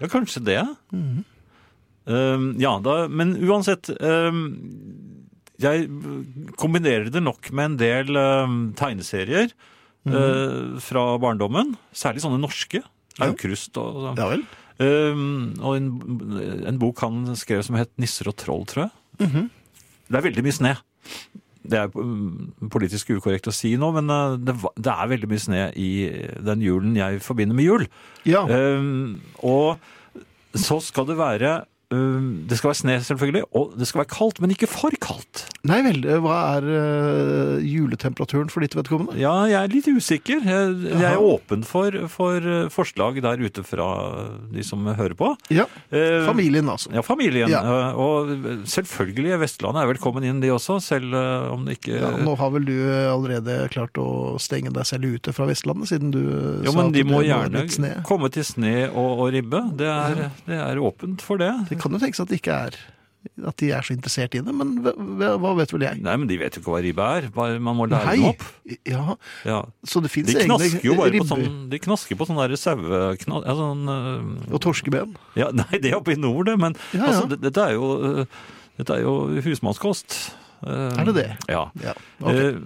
[SPEAKER 3] Ja, kanskje det. Um, ja, da, men uansett um, Jeg kombinerer det nok med en del um, tegneserier
[SPEAKER 2] Mhm.
[SPEAKER 3] uh, fra barndommen. Særlig sånne norske. Aukrust og
[SPEAKER 2] Ja vel.
[SPEAKER 3] um, Og en, en bok han skrev som het 'Nisser og troll', tror jeg.
[SPEAKER 2] Mhm.
[SPEAKER 3] Det er veldig mye snø. Det er um, politisk ukorrekt å si nå, men uh, det, va- det er veldig mye snø i den julen jeg forbinder med jul.
[SPEAKER 2] Ja.
[SPEAKER 3] Um, og så skal det være um, Det skal være sne, selvfølgelig, og det skal være kaldt, men ikke for kaldt.
[SPEAKER 2] Nei vel, eh, hva er eh, juletemperaturen for ditt vedkommende?
[SPEAKER 3] Ja, jeg er litt usikker. Jeg, jeg er
[SPEAKER 2] Jaha.
[SPEAKER 3] åpen for, for uh, forslag der ute fra de som hører på.
[SPEAKER 2] Ja,
[SPEAKER 3] Uh,
[SPEAKER 2] familien altså.
[SPEAKER 3] Ja, familien.
[SPEAKER 2] Ja.
[SPEAKER 3] Uh, Og selvfølgelig, Vestlandet er velkommen inn, de også, selv uh, om det ikke
[SPEAKER 2] Ja, nå har vel du eh, allerede klart å stenge deg selv ute fra Vestlandet, siden du eh,
[SPEAKER 3] Jo,
[SPEAKER 2] sa
[SPEAKER 3] men
[SPEAKER 2] at
[SPEAKER 3] de
[SPEAKER 2] det nå
[SPEAKER 3] må
[SPEAKER 2] er
[SPEAKER 3] gjerne
[SPEAKER 2] blitt sne.
[SPEAKER 3] komme til sne og, og ribbe. Det er, det er åpent for det.
[SPEAKER 2] Det kan jo tenkes at det ikke er at de er så interessert i det, men hva- hva hva vet vel jeg?
[SPEAKER 3] Nei, men de vet jo ikke hva ribbe er. Bare man må lære dem
[SPEAKER 2] Nei.
[SPEAKER 3] opp.
[SPEAKER 2] Ja,
[SPEAKER 3] Ja.
[SPEAKER 2] så det fins
[SPEAKER 3] De
[SPEAKER 2] egne
[SPEAKER 3] knasker jo bare
[SPEAKER 2] ribber
[SPEAKER 3] på sånn De knasker på sånn derre saueknall... Ja, sånn, øh,
[SPEAKER 2] og torskeben.
[SPEAKER 3] ja, nei, det er oppe i nord, det, men
[SPEAKER 2] Ja, ja.
[SPEAKER 3] altså, det- dette er jo øh, Dette er jo husmannskost. Eh,
[SPEAKER 2] Er det det?
[SPEAKER 3] Ja.
[SPEAKER 2] Ja, ok.
[SPEAKER 3] Eh,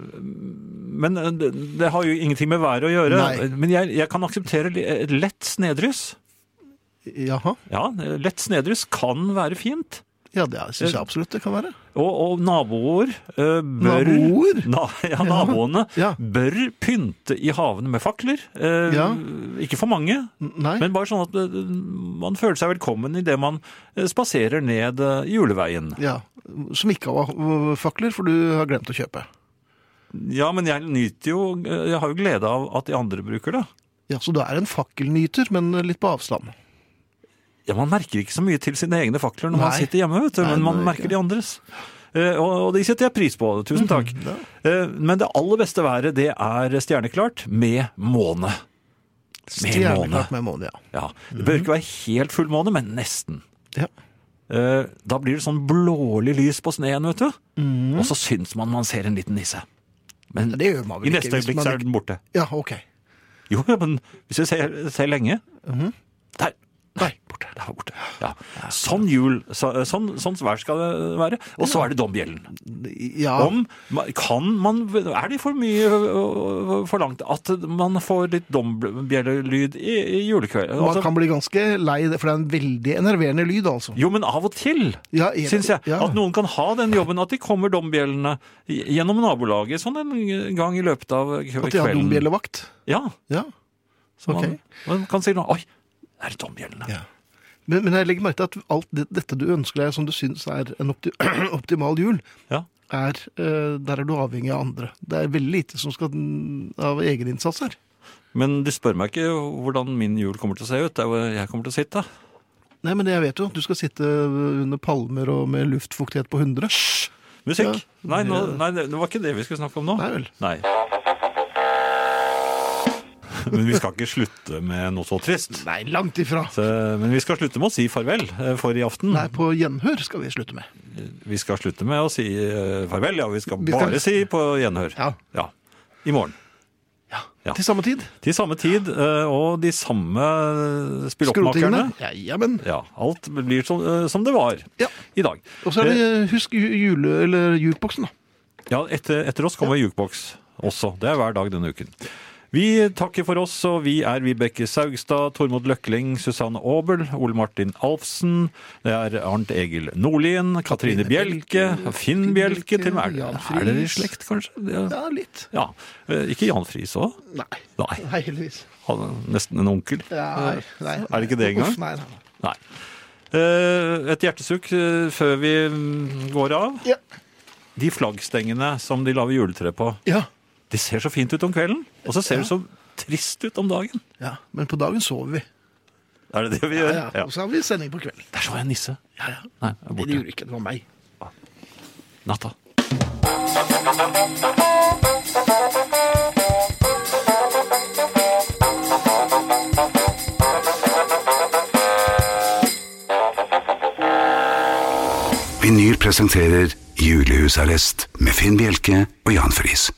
[SPEAKER 3] Men eh, det, det har jo ingenting med været å gjøre.
[SPEAKER 2] Nei.
[SPEAKER 3] Men jeg, jeg kan akseptere li- et lett snedryss.
[SPEAKER 2] Jaha.
[SPEAKER 3] Ja, eh, lett snedryss kan være fint.
[SPEAKER 2] Ja, det syns jeg absolutt det kan være.
[SPEAKER 3] Og, og naboer eh, bør
[SPEAKER 2] Naboer?
[SPEAKER 3] Na, ja, naboene
[SPEAKER 2] Ja.
[SPEAKER 3] bør pynte i havene med fakler. Eh,
[SPEAKER 2] Ja. Mm.
[SPEAKER 3] Ikke for mange,
[SPEAKER 2] Nei.
[SPEAKER 3] Men bare sånn at eh, man føler seg velkommen idet man eh, spaserer ned eh, juleveien.
[SPEAKER 2] Ja. Som ikke har fakler, for du har glemt å kjøpe.
[SPEAKER 3] Ja, men jeg nyter jo eh, Jeg har jo glede av at de andre bruker det.
[SPEAKER 2] Ja, Så du er en fakkelnyter, men litt på avstand.
[SPEAKER 3] Ja, Man merker ikke så mye til sine egne fakler når man
[SPEAKER 2] Nei.
[SPEAKER 3] sitter hjemme, vet du,
[SPEAKER 2] Nei,
[SPEAKER 3] men man
[SPEAKER 2] det Mhm, er
[SPEAKER 3] merker
[SPEAKER 2] ikke.
[SPEAKER 3] de andres. Eh, Og og de setter jeg pris på. Tusen takk. Eh, Men det aller beste været, det er stjerneklart med måne.
[SPEAKER 2] Stjerneklart med måne, ja.
[SPEAKER 3] Ja, Det bør ikke være helt fullmåne, men nesten.
[SPEAKER 2] ja.
[SPEAKER 3] Eh, Da blir det sånn blålig lys på sneen, vet du. Og så syns man man ser en liten nisse.
[SPEAKER 2] Mhm.
[SPEAKER 3] Men
[SPEAKER 2] Ja, Det gjør man
[SPEAKER 3] i
[SPEAKER 2] vel ikke.
[SPEAKER 3] neste
[SPEAKER 2] hvis
[SPEAKER 3] øyeblikk
[SPEAKER 2] man
[SPEAKER 3] så er den borte.
[SPEAKER 2] ikke- Ja, ok. Mhm.
[SPEAKER 3] Jo, ja, men hvis jeg ser, ser lenge Der! Nei, borte. Det var borte. Ja. Sånn jul, så, sånn, sånn vær skal det være. Og så er det dombjellen.
[SPEAKER 2] Ja,
[SPEAKER 3] Om, kan man, er det for mye øh, forlangt at man får litt dombjellelyd i, i julekveld?
[SPEAKER 2] man
[SPEAKER 3] Altså,
[SPEAKER 2] kan bli ganske lei det, for det er en veldig enerverende lyd, altså.
[SPEAKER 3] jo, men av og til,
[SPEAKER 2] Ja, jeg-
[SPEAKER 3] syns jeg.
[SPEAKER 2] ja.
[SPEAKER 3] At noen kan ha den jobben, at de kommer dombjellene i- gjennom nabolaget sånn en gang i løpet av kve-
[SPEAKER 2] At de har
[SPEAKER 3] kvelden.
[SPEAKER 2] dombjellevakt.
[SPEAKER 3] Ja,
[SPEAKER 2] Ja.
[SPEAKER 3] så man,
[SPEAKER 2] Ok.
[SPEAKER 3] man kan si noe Oi, er det dombjellene?
[SPEAKER 2] Ja. Men, men jeg legger merke til at alt det, dette du ønsker deg, som du syns er en opti optimal jul,
[SPEAKER 3] Ja.
[SPEAKER 2] er, eh, der er du avhengig av andre. Det er veldig lite som skal av egeninnsats her.
[SPEAKER 3] Men du spør meg ikke hvordan min jul kommer til å se ut. Det er hvor jeg kommer til å sitte.
[SPEAKER 2] Nei, men jeg vet jo at du skal sitte under palmer og med luftfuktighet på 100.
[SPEAKER 3] Musikk?
[SPEAKER 2] Ja.
[SPEAKER 3] Nei, nå, nei, det var ikke det vi skulle snakke om nå.
[SPEAKER 2] Nei vel.
[SPEAKER 3] Nei. Men vi skal ikke slutte med noe så trist.
[SPEAKER 2] Nei, langt ifra.
[SPEAKER 3] Så, men vi skal slutte med å si farvel eh, for i aften.
[SPEAKER 2] Nei, på gjenhør skal vi slutte med.
[SPEAKER 3] Vi skal slutte med å si eh, farvel, ja. Vi skal
[SPEAKER 2] Vi skal-
[SPEAKER 3] bare si på gjenhør.
[SPEAKER 2] Ja.
[SPEAKER 3] I morgen. Ja.
[SPEAKER 2] Til samme tid.
[SPEAKER 3] Til samme tid eh, og de samme spilloppmakerne.
[SPEAKER 2] Skrotingene. Ja, ja, men.
[SPEAKER 3] Ja, alt blir som, eh, som det var
[SPEAKER 2] Ja.
[SPEAKER 3] i dag. Eh,
[SPEAKER 2] Og så er det Husk ju- jule- eller jukeboksen, da.
[SPEAKER 3] Ja, etter, etter oss kommer jukeboks også. Det er hver dag denne uken. Vi takker for oss, og vi er Vibeke Saugstad, Tormod Løkling, Susanne Aabel, Ole Martin Alfsen, det er Arnt Egil Nordlien, Katrine Bjelke, Finn Bjelke, til og med
[SPEAKER 2] Jan
[SPEAKER 3] er,
[SPEAKER 2] Friis.
[SPEAKER 3] er dere i slekt, kanskje? Ja.
[SPEAKER 2] Ja, litt.
[SPEAKER 3] ja. Eh, Ikke Jan Friis òg?
[SPEAKER 2] Nei.
[SPEAKER 3] Nei.
[SPEAKER 2] Nei, heldigvis.
[SPEAKER 3] Han er nesten en onkel?
[SPEAKER 2] Ja, nei.
[SPEAKER 3] Er det ikke det engang?
[SPEAKER 2] Uff, Nei, nei.
[SPEAKER 3] Nei. Eh, Et hjertesukk eh, før vi mm, går av.
[SPEAKER 2] Ja.
[SPEAKER 3] De flaggstengene som de lager juletre på,
[SPEAKER 2] Ja.
[SPEAKER 3] Det ser så fint ut om kvelden, og så ser det så trist ut om dagen.
[SPEAKER 2] ja. Men på dagen sover vi.
[SPEAKER 3] Er det det vi
[SPEAKER 2] Ja,
[SPEAKER 3] gjør?
[SPEAKER 2] ja. Og så har vi sending på kvelden.
[SPEAKER 3] Der så jeg en nisse.
[SPEAKER 2] Ja, ja.
[SPEAKER 3] Nei, jeg er
[SPEAKER 2] Nei, det
[SPEAKER 3] borte.
[SPEAKER 2] gjorde ikke. Det var meg.
[SPEAKER 3] Natta.
[SPEAKER 4] Vinyl presenterer Julehusarrest med Finn Bjelke og Jan Friis.